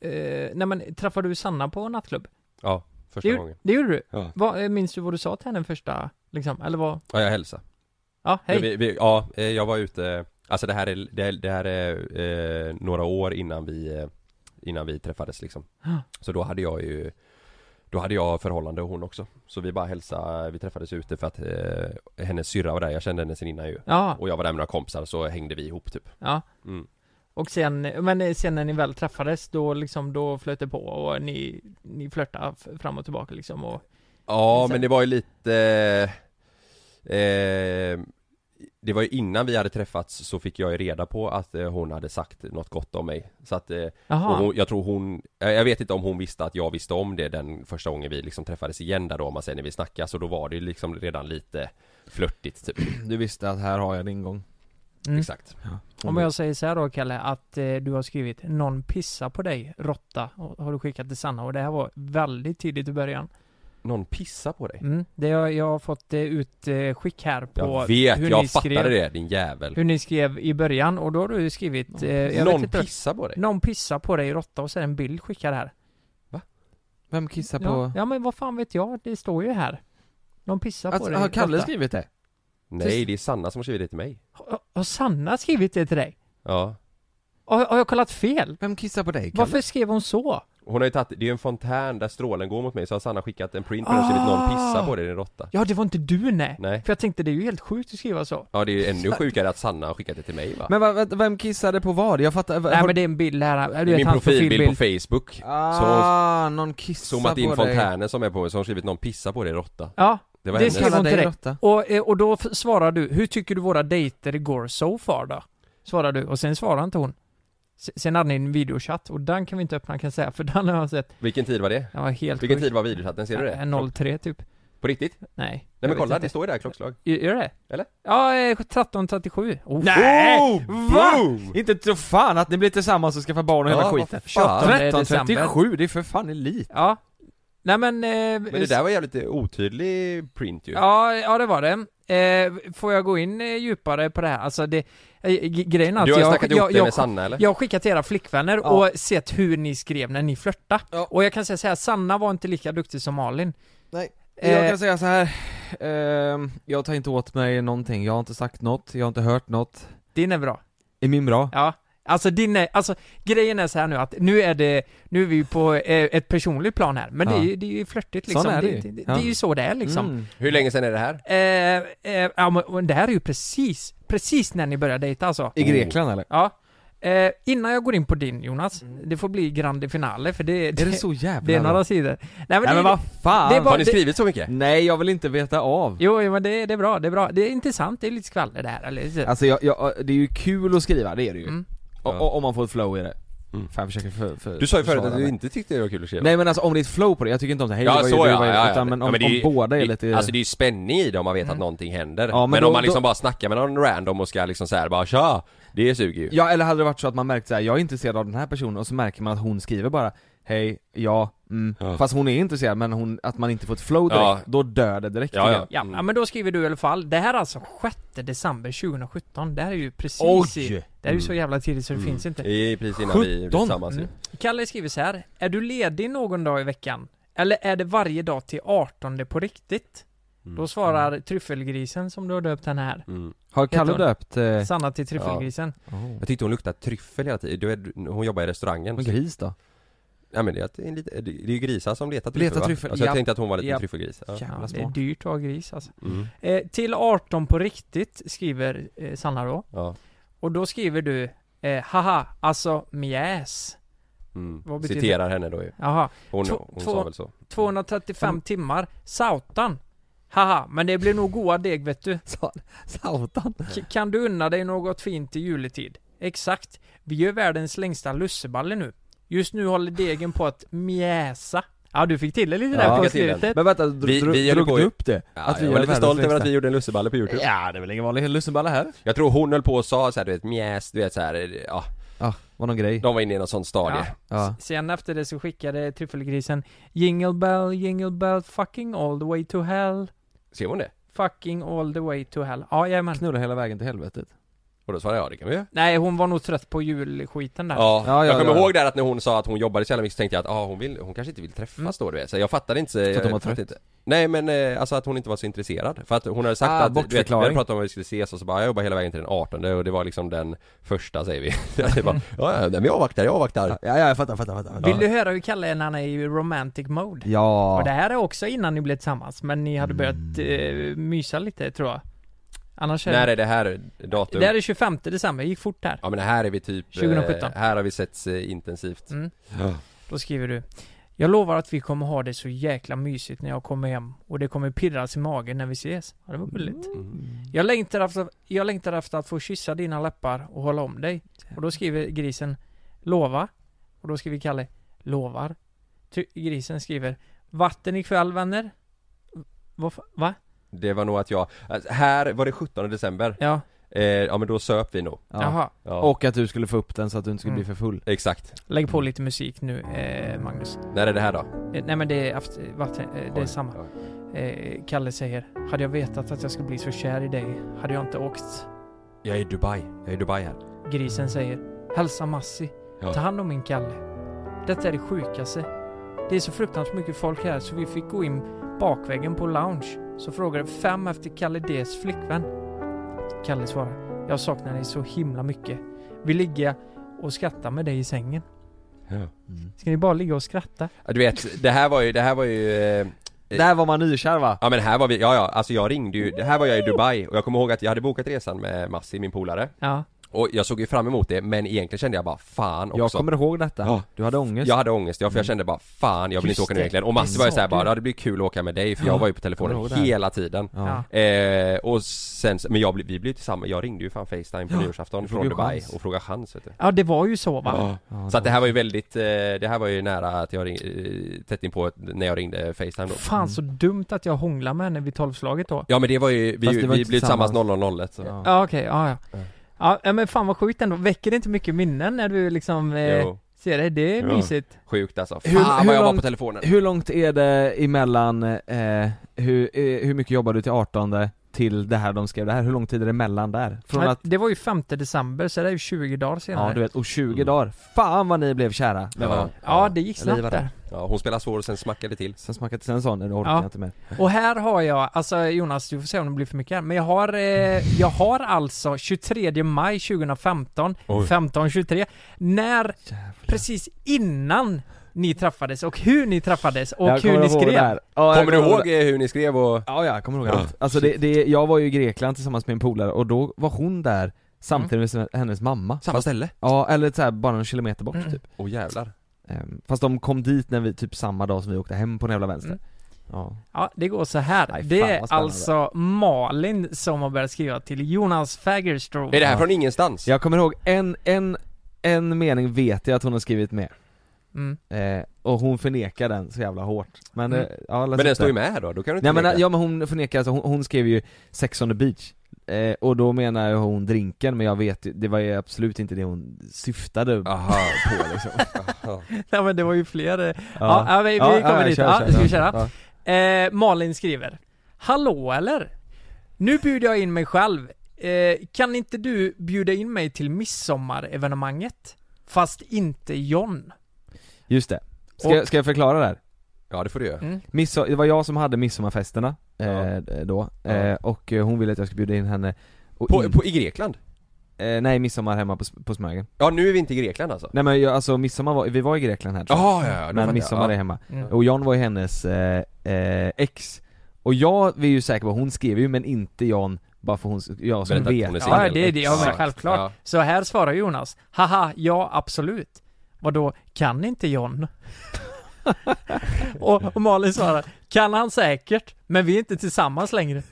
Speaker 5: eh, nej men träffade du Sanna på nattklubb?
Speaker 3: Ja, första
Speaker 5: det, gjorde-
Speaker 3: gången.
Speaker 5: Det gjorde du?
Speaker 3: Ja.
Speaker 5: Vad, eh, minns du vad du sa till henne den första, liksom? Eller vad?
Speaker 3: Ja, jag hälsade.
Speaker 5: Ja, hej!
Speaker 3: Vi, vi, ja, eh, jag var ute, alltså det här är, det, det här är eh, några år innan vi, eh, innan vi träffades liksom.
Speaker 5: Ja.
Speaker 3: Så då hade jag ju, då hade jag förhållande och hon också. Så vi bara hälsade, vi träffades ute för att eh, hennes syrra var där, jag kände henne sen innan ju.
Speaker 5: Ja,
Speaker 3: Och jag var där med några kompisar så hängde vi ihop typ.
Speaker 5: ja.
Speaker 3: Mm.
Speaker 5: Och sen, men sen när ni väl träffades då liksom, då flöt det på och ni, ni flörtade f- fram och tillbaka liksom och
Speaker 3: Ja,
Speaker 5: Sen-
Speaker 3: men det var ju lite eh, eh, Det var ju innan vi hade träffats så fick jag ju reda på att eh, hon hade sagt något gott om mig Så att eh, och
Speaker 5: Jaha,
Speaker 3: hon, jag tror hon, jag jag vet inte om hon visste att jag visste om det den första gången vi liksom träffades igen där då om man säger när vi snackade så då var det ju liksom redan lite flörtigt typ,
Speaker 4: Du visste att här har jag din gång.
Speaker 5: Mm.
Speaker 3: exakt
Speaker 5: om jag säger så här då Kalle, att eh, du har skrivit 'Någon pissar på dig, råtta' och, har du skickat till Sanna och det här var väldigt tidigt i början
Speaker 3: Någon pissar på dig?
Speaker 5: mm, det har jag har fått eh, utskick här på
Speaker 3: jag vet,
Speaker 5: hur ni
Speaker 3: jag fattade
Speaker 5: skrev,
Speaker 3: det din jävel
Speaker 5: Hur ni skrev i början och då har du skrivit eh, jag
Speaker 3: Någon
Speaker 5: vet inte,
Speaker 3: pissar på dig?
Speaker 5: Någon pissar på dig, råtta och så är det en bild skickad här
Speaker 4: Vem kissar
Speaker 5: ja,
Speaker 4: på...
Speaker 5: ja men vad fan vet jag, det står ju här Någon pissar
Speaker 3: Alltså,
Speaker 5: på
Speaker 4: Att,
Speaker 5: dig,
Speaker 4: Alltså, har Kalle
Speaker 5: råtta.
Speaker 4: skrivit det?
Speaker 3: Nej det är Sanna som har skrivit det till mig
Speaker 5: Har- Har Sanna skrivit det till dig?
Speaker 3: Ja
Speaker 5: Har, har jag kollat fel?
Speaker 4: Vem kissar på dig Kalle?
Speaker 5: Varför skrev hon så?
Speaker 3: Hon har ju tagit, det är ju en fontän där strålen går mot mig så har Sanna skickat en print på den och skrivit
Speaker 4: Ah.
Speaker 3: någon pissar på dig din råtta
Speaker 5: Ja, det var inte du nej.
Speaker 3: Nej
Speaker 5: För jag tänkte det är ju helt sjukt att skriva så.
Speaker 3: Ja det är ju ännu sjukare att Sanna har skickat det till mig va?
Speaker 4: Men va, va, vem kissade på vad? Jag fattar... va-
Speaker 5: Nej
Speaker 4: har-
Speaker 5: men det är en bild här, du
Speaker 3: Det är
Speaker 5: vet
Speaker 3: min
Speaker 5: hans
Speaker 3: profilbild på
Speaker 5: profilbild.
Speaker 3: Facebook Så hon
Speaker 4: Ah, någon kissar
Speaker 3: zoomat in
Speaker 4: på dig.
Speaker 3: fontänen som är på mig så har hon skrivit någon pissar på dig råtta
Speaker 5: Ja,
Speaker 3: Det var
Speaker 5: Det
Speaker 3: hennes
Speaker 5: skrev hon
Speaker 4: Kallar
Speaker 5: till
Speaker 4: dig
Speaker 5: dig.
Speaker 4: råtta.
Speaker 5: och, eh, och då f- svarar du, hur tycker du våra dejter går so far då? Svarar du, och sen svarar inte hon. S- Sen hade ni en videochatt och den kan vi inte öppna kan jag säga, för den har jag sett.
Speaker 3: Vilken tid var det?
Speaker 5: Den var helt
Speaker 3: Vilken
Speaker 5: sjuk.
Speaker 3: tid var videochatten? Ser du det?
Speaker 5: Eh, 03 typ.
Speaker 3: På riktigt? Nej
Speaker 5: Nej. jag
Speaker 3: men
Speaker 5: vet
Speaker 3: kolla,
Speaker 5: inte.
Speaker 3: det står ju där klockslag
Speaker 5: Gör- Gör det?
Speaker 3: Eller?
Speaker 5: Ja, eh, 13.37. Oh,
Speaker 4: Nej! Va?
Speaker 3: boom!
Speaker 4: Inte tro fan att ni blir tillsammans och skaffar barn och hela
Speaker 3: Ja, vad
Speaker 4: skiten.
Speaker 3: fan.
Speaker 4: 13.37, det är för fan elit.
Speaker 5: Ja. Nej men... Eh,
Speaker 3: Men det där var jävligt eh, otydlig print ju
Speaker 5: Ja, ja det var det. Eh, får jag gå in eh, djupare på det här? Alltså det, eh, g- grejen är att
Speaker 4: alltså,
Speaker 3: Du har
Speaker 5: jag,
Speaker 3: snackat ihop
Speaker 5: jag,
Speaker 3: det
Speaker 5: jag,
Speaker 3: med Sanna eller?
Speaker 5: jag har skickat till era flickvänner
Speaker 4: Ja.
Speaker 5: och sett hur ni skrev när ni flörtade.
Speaker 4: Ja.
Speaker 5: Och jag kan säga så här, Sanna var inte lika duktig som Malin.
Speaker 4: Nej. Jag
Speaker 5: Eh,
Speaker 4: kan säga så här. ehm, jag tar inte åt mig någonting, jag har inte sagt något, jag har inte hört något
Speaker 5: Din är bra
Speaker 4: Är min bra?
Speaker 5: Ja, alltså din är, alltså grejen är så här nu att nu är det, nu är vi på eh, ett personligt plan här, men det är ju,
Speaker 3: Ja.
Speaker 5: det är ju flörtigt
Speaker 3: Sån
Speaker 5: liksom.
Speaker 3: är det ju.
Speaker 5: det, det,
Speaker 3: Ja.
Speaker 5: det är ju så det är liksom.
Speaker 3: Mm. Hur länge sedan är det här?
Speaker 5: Eh, eh, ja, men och det här är ju precis, precis när ni började dejta alltså.
Speaker 4: I Grekland, eller?
Speaker 5: Ja. Eh, innan jag går in på din Jonas, det får bli grande finale för det,
Speaker 4: det så jävla
Speaker 5: Det är några
Speaker 4: långt?
Speaker 5: sidor.
Speaker 4: Nej, men vad fan?
Speaker 5: det är bara-
Speaker 4: Har ni
Speaker 5: det-
Speaker 4: skrivit
Speaker 3: så mycket?
Speaker 4: Nej, jag vill inte veta av
Speaker 5: Jo, jo men det, det är bra, det är bra. Det är intressant, det är lite skvaller där. Eller, lite-
Speaker 4: Alltså jag, jag, det är ju kul att skriva, det är det ju
Speaker 5: Mm.
Speaker 4: O- o- Om man får ett flow i det Fan, jag försöker för, för,
Speaker 3: Du sa ju förut
Speaker 4: försvara
Speaker 3: att du
Speaker 4: mig.
Speaker 3: inte tyckte det var kul att skriva
Speaker 4: Nej men alltså om det är ett flow på det, jag tycker inte om det, hej det var ju- det var ju- utan, men om,
Speaker 3: det är ju-
Speaker 4: om båda är
Speaker 3: det-
Speaker 4: lite
Speaker 3: Alltså det är ju spänning i det om man vet att någonting händer
Speaker 4: Mm. Ja, men
Speaker 3: men,
Speaker 4: då-
Speaker 3: om man liksom
Speaker 4: då-
Speaker 3: bara snackar med någon random och ska liksom såhär bara tja, det suger ju
Speaker 4: Ja eller hade det varit så att man märkt såhär, jag är intresserad av den här personen och så märker man att hon skriver bara Hej, ja, mm. Fast hon är intresserad men hon, att man inte får ett flow direkt,
Speaker 3: Ja. Mm.
Speaker 4: då dör det direkt tycker jag.
Speaker 5: Ja, ja, men då skriver du i alla fall. Det här är alltså 6 december 2017. Det här är ju precis
Speaker 3: Oj!
Speaker 5: i, Det här är ju så jävla tidigt
Speaker 4: Mm.
Speaker 5: så det finns inte.
Speaker 3: Det är precis innan vi blev tillsammans ju.
Speaker 5: Mm. Kalle skriver så här. Är du ledig någon dag i veckan? Eller är det varje dag till 18 på riktigt?
Speaker 3: Mm.
Speaker 5: Då svarar tryffelgrisen som du har döpt henne här.
Speaker 4: Har
Speaker 5: Heter
Speaker 4: Kalle
Speaker 5: hon?
Speaker 4: döpt eh,
Speaker 5: Sanna till tryffelgrisen.
Speaker 3: Ja. Mm.
Speaker 4: Mm.
Speaker 3: Jag tyckte hon luktade tryffel hela tiden, du vet, hon jobbar i restaurangen
Speaker 4: Men gris då?
Speaker 3: Ja men det är, att det är en lite- det är ju grisar som letar tryffel
Speaker 5: Letar
Speaker 3: va?
Speaker 5: tryffel,
Speaker 3: Alltså jag
Speaker 5: ja.
Speaker 3: tänkte att hon var lite
Speaker 5: Ja.
Speaker 3: tryffelgris ja.
Speaker 5: Ja, det är dyrt att ha gris alltså.
Speaker 3: Mm.
Speaker 5: Eh, till 18 på riktigt skriver eh, Sanna då.
Speaker 3: Ja.
Speaker 5: Och då skriver du eh, haha, alltså mjäs.
Speaker 3: Mm.
Speaker 5: Vad betyder-
Speaker 3: Citerar henne då ju
Speaker 5: Jaha.
Speaker 3: Hon,
Speaker 5: Två-
Speaker 3: hon
Speaker 5: två-
Speaker 3: sa väl så
Speaker 5: 235
Speaker 4: Mm.
Speaker 5: timmar. Sautan. Haha, men det blir nog goda deg vet du.
Speaker 4: Sautan?
Speaker 5: Kan du unna dig något fint i juletid? Exakt. Vi gör världens längsta lusseballe nu. Just nu håller degen på att mjäsa. Ja, du fick till det lite där på slutet.
Speaker 4: Men vänta, dro,
Speaker 3: Vi-
Speaker 4: dro,
Speaker 3: vi
Speaker 4: drog
Speaker 3: höll på
Speaker 4: du
Speaker 3: ju-
Speaker 4: upp det?
Speaker 3: Ja, jag var
Speaker 4: gör
Speaker 3: lite
Speaker 4: världens
Speaker 3: stolt över
Speaker 4: längsta.
Speaker 3: att vi gjorde en lusseballe på youtube
Speaker 4: Ja, det är väl ingen vanlig lusseballe här?
Speaker 3: Jag tror hon höll på och sa såhär du vet mjäs, du vet såhär, ja
Speaker 4: Ja, var någon grej
Speaker 3: De var inne i någon sån stadie
Speaker 4: Ja.
Speaker 5: Sen efter det så skickade tryffelgrisen Jingle bell, jingle bell, fucking all the way to hell.
Speaker 3: Skrev hon det?
Speaker 5: Fucking all the way to hell. Ja, jajamän.
Speaker 4: Knulla hela vägen till helvetet.
Speaker 3: Och då svarade jag, ja det kan vi göra
Speaker 5: Nej, hon var nog trött på julskiten där.
Speaker 3: Ja, jag kommer
Speaker 5: ja.
Speaker 3: ihåg där att när hon sa att hon jobbade så jävla mycket så tänkte jag att ah, hon, vill, hon kanske inte vill träffas då du vet så jag fattade inte så,
Speaker 4: att
Speaker 3: jag
Speaker 4: hon var
Speaker 3: fattade
Speaker 4: trött.
Speaker 3: inte. Nej men eh, alltså att hon inte var så intresserad för att hon hade sagt
Speaker 4: Ah,
Speaker 3: att du vet, vi hade
Speaker 4: bortförklaring.
Speaker 3: pratat om att vi skulle ses och så bara jag jobbar hela vägen till den 18 och det var liksom den första säger vi Jag bara, ja ja, men jag avvaktar, jag avvaktar
Speaker 4: Ja, ja jag fattar, fattar, fattar
Speaker 5: Vill du höra hur Kalle är när han är i romantic mode?
Speaker 4: Ja.
Speaker 5: Och det här är också innan ni blev tillsammans, men ni hade börjat eh, mysa lite tror jag. Annars
Speaker 3: När är det här datum?
Speaker 5: Det här är 25 december, det gick fort där.
Speaker 3: Ja men här är vi typ, eh,
Speaker 5: 2017.
Speaker 3: här har vi setts eh, intensivt
Speaker 5: Mm.
Speaker 3: Ja.
Speaker 5: Då skriver du Jag lovar att vi kommer ha det så jäkla mysigt när jag kommer hem och det kommer pirras i magen när vi ses. Ja, det var
Speaker 3: Mm.
Speaker 5: gulligt.
Speaker 4: Mm.
Speaker 5: Jag, längtar efter, jag längtar efter att få kyssa dina läppar och hålla om dig. Och då skriver grisen Lova. Och då skriver Kalle Lovar. Ty- grisen skriver Vatten ikväll vänner. Vad fa- Va?
Speaker 3: Det var nog att jag, alltså, här var det 17 december
Speaker 5: Ja
Speaker 3: eh, Ja men då söp vi nog
Speaker 4: Ja.
Speaker 5: Jaha.
Speaker 3: Ja.
Speaker 4: Och att du skulle få upp den så att du inte skulle
Speaker 5: Mm.
Speaker 4: bli för full
Speaker 3: Exakt
Speaker 5: Lägg på lite musik nu, eh, Magnus.
Speaker 3: När är det här då?
Speaker 5: Eh, nej men det är, aft- vatten, eh, det är
Speaker 3: Oj,
Speaker 5: samma. Eh, Kalle säger, hade jag vetat att jag skulle bli så kär i dig hade jag inte åkt.
Speaker 3: Jag är i Dubai, jag är i Dubai här
Speaker 5: Grisen säger, hälsa Massi,
Speaker 3: Ja.
Speaker 5: ta hand om min Kalle. Detta är det sjukaste. Det är så fruktansvärt mycket folk här så vi fick gå in bakvägen på lounge. Så frågade fem efter Kalle Ds flickvän. Kalle svarar, jag saknar dig så himla mycket. Vi ligger och skrattar med dig i sängen.
Speaker 3: Ja.
Speaker 5: Ska ni bara ligga och skratta?
Speaker 3: Ja, Du vet, det här var ju, det här var ju eh,
Speaker 4: Där var man nykär va?
Speaker 3: Ja men här var vi, ja ja, alltså jag ringde ju, det här var jag i Dubai och jag kommer ihåg att jag hade bokat resan med Massi, min polare
Speaker 5: Ja.
Speaker 3: Och jag såg ju fram emot det men egentligen kände jag bara fan också
Speaker 4: Jag kommer ihåg detta,
Speaker 3: Ja.
Speaker 4: du hade ångest Mm.
Speaker 3: Jag hade ångest, ja, för jag kände bara fan jag vill
Speaker 4: Just
Speaker 3: inte åka nu
Speaker 4: det.
Speaker 3: egentligen Och
Speaker 4: Det
Speaker 3: Massi var ju
Speaker 4: sa
Speaker 3: såhär bara
Speaker 4: du.
Speaker 3: ja, det blir kul att åka med dig för
Speaker 4: Ja,
Speaker 3: jag var ju på
Speaker 4: kommer
Speaker 3: telefonen
Speaker 4: ihåg det här.
Speaker 3: hela tiden
Speaker 4: Ja.
Speaker 3: eh, Och sen, men jag, blev- vi blev ju tillsammans, jag ringde ju fan Facetime på
Speaker 4: Ja,
Speaker 3: nyårsafton
Speaker 4: du fick
Speaker 3: från
Speaker 4: ju
Speaker 3: Dubai
Speaker 4: chans.
Speaker 3: och frågade chans vet du
Speaker 5: Ja, det var ju så va?
Speaker 3: Så att det här var ju väldigt, eh, det här var ju nära att jag ringde, tätt inpå ett- när jag ringde Facetime då
Speaker 5: Fan så dumt att jag hånglade med henne vid tolvslaget då.
Speaker 3: Ja men det var ju, vi,
Speaker 4: Fast det var
Speaker 3: vi
Speaker 4: inte
Speaker 3: blev tillsammans
Speaker 4: tillsammans.
Speaker 3: 0001 så
Speaker 4: Ja.
Speaker 5: Ja okej, ja ja. Ja ja, men fan vad sjukt ändå, väcker det inte mycket minnen när du liksom eh,
Speaker 3: Jo.
Speaker 5: ser det? Det är
Speaker 3: Jo.
Speaker 5: mysigt.
Speaker 3: Sjukt alltså, fan
Speaker 4: Hur-
Speaker 3: vad
Speaker 4: hur
Speaker 3: jag var
Speaker 4: långt-
Speaker 3: på telefonen
Speaker 4: Hur långt är det emellan, eh, hur, eh, hur mycket jobbar du till 18? till det här de skrev det här, hur lång tid är det mellan där? Från
Speaker 5: Men
Speaker 4: att,
Speaker 5: Det var ju 5 december så det är ju 20 dagar senare.
Speaker 4: ja du vet, och 20 dagar, fan vad ni blev kära med
Speaker 3: Ja,
Speaker 4: varandra
Speaker 5: ja, det gick
Speaker 4: Eller i
Speaker 5: snabbt
Speaker 4: varandra.
Speaker 5: där.
Speaker 3: Ja, hon spelar svår och sen smackade det till.
Speaker 4: Sen smackade sen sa ni, det orkar
Speaker 5: Ja.
Speaker 4: jag inte med
Speaker 5: Och här har jag, alltså Jonas du får se om det blir för mycket här, men jag har, eh, jag har alltså 23 maj 2015,
Speaker 4: Oj.
Speaker 5: 15-23, när, precis innan ni träffades och hur ni träffades och hur ni skrev.
Speaker 3: kommer du ihåg eh, hur ni skrev och...
Speaker 4: Ja, jag kommer ihåg allt. Alltså det, det, jag var ju i Grekland tillsammans med en polare och då var hon där
Speaker 5: Mm.
Speaker 4: samtidigt med hennes mamma
Speaker 3: Samma ställe?
Speaker 4: Ja, eller så här, bara någon kilometer bort
Speaker 5: Mm.
Speaker 4: typ
Speaker 3: Åh jävlar.
Speaker 4: Ehm, Fast de kom dit när vi, typ samma dag som vi åkte hem på den jävla vänster Ja,
Speaker 5: Ja, det går så här.
Speaker 4: Nej, fan,
Speaker 5: det
Speaker 4: vad
Speaker 5: är
Speaker 4: spännande.
Speaker 5: alltså Malin som har börjat skriva till Jonas Fagerström.
Speaker 3: Är det här från ingenstans?
Speaker 4: Jag kommer ihåg en, en, en mening vet jag att hon har skrivit med
Speaker 5: Mm.
Speaker 4: eh, Och hon förnekar den så jävla hårt Men,
Speaker 5: Mm.
Speaker 4: eh, ja,
Speaker 3: Men den står ju med här då, då kan du inte
Speaker 4: Nej men,
Speaker 3: neka.
Speaker 4: ja, men hon förnekar, alltså, hon, hon skrev ju Sex on the beach eh, Och då menar ju hon drinken men jag vet ju- det var ju absolut inte det hon syftade
Speaker 3: Aha.
Speaker 4: på liksom
Speaker 3: Aha.
Speaker 5: Nej men det var ju fler. eh, Ja, ja, vi, vi kommer dit.
Speaker 4: kör,
Speaker 5: ja,
Speaker 4: kör,
Speaker 5: ska vi
Speaker 4: ja.
Speaker 5: köra? Eh, Malin skriver Hallå eller? Nu bjuder jag in mig själv. Eh, kan inte du bjuda in mig till midsommarevenemanget? Fast inte John.
Speaker 4: Just det. Ska, jag- ska jag förklara det här?
Speaker 3: Ja det får du göra.
Speaker 5: Mm.
Speaker 4: Midso- det var jag som hade midsommarfesterna eh, då, eh, och eh, hon ville att jag skulle bjuda in henne och
Speaker 3: På,
Speaker 4: in,
Speaker 3: på, I Grekland?
Speaker 4: eh, Nej, midsommar hemma på, S- på Smögen
Speaker 3: Ja nu är vi inte i Grekland alltså?
Speaker 4: Nej men jag, alltså midsommar var, vi var i Grekland här tror jag.
Speaker 3: Jaha, ja, ja, då fattar
Speaker 4: Men
Speaker 3: jag.
Speaker 4: midsommar
Speaker 3: Ja.
Speaker 4: är hemma,
Speaker 5: Mm.
Speaker 4: och John var ju hennes eh, eh, ex Och jag är ju säker på, hon skrev ju men inte John bara för hon, jag som
Speaker 3: Berätta att hon är
Speaker 4: vet
Speaker 5: Ja,
Speaker 3: singel.
Speaker 5: det är det. Ja, men
Speaker 3: Exakt.
Speaker 5: självklart.
Speaker 3: Ja.
Speaker 5: Så här svarar Jonas. Haha, ja absolut. Vadå, kan inte John? och, och Malin svarar, kan han säkert, men vi är inte tillsammans längre.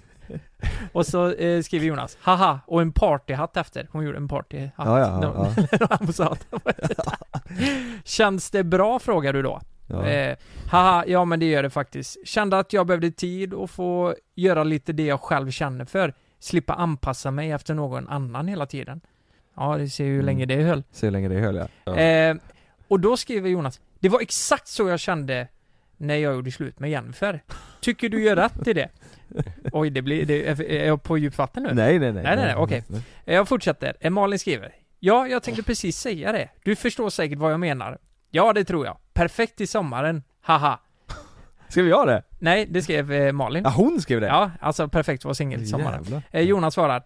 Speaker 5: Och så eh, skriver Jonas, haha, och en partyhatt efter. Hon gjorde en partyhatt.
Speaker 4: Ja, ja, ja, ja.
Speaker 5: När han sa att det var ett- Känns det bra frågar du då?
Speaker 4: Ja.
Speaker 5: Eh, haha, ja men det gör det faktiskt. Kände att jag behövde tid och få göra lite det jag själv känner för. Slippa anpassa mig efter någon annan hela tiden. Ja, det ser ju hur länge det höll.
Speaker 4: Så Mm. hur länge det höll jag
Speaker 3: Ja.
Speaker 5: Eh, och då skriver Jonas, det var exakt så jag kände när jag gjorde slut med Jennifer. Tycker du gör rätt i det? Oj, det blir, det, är jag på djupt vatten nu?
Speaker 4: Nej nej nej
Speaker 5: Nej, nej, nej, okej. Eh, Jag fortsätter. Eh, Malin skriver. Ja, jag tänkte precis säga det. Du förstår säkert vad jag menar. Ja, det tror jag. Perfekt i sommaren. Haha.
Speaker 4: Skrev jag det?
Speaker 5: Nej, det skrev eh, Malin.
Speaker 4: Ja hon skrev det?
Speaker 5: Ja, alltså perfekt att vara singel i sommaren.
Speaker 4: Jävlar.
Speaker 5: Eh, Jonas svarar.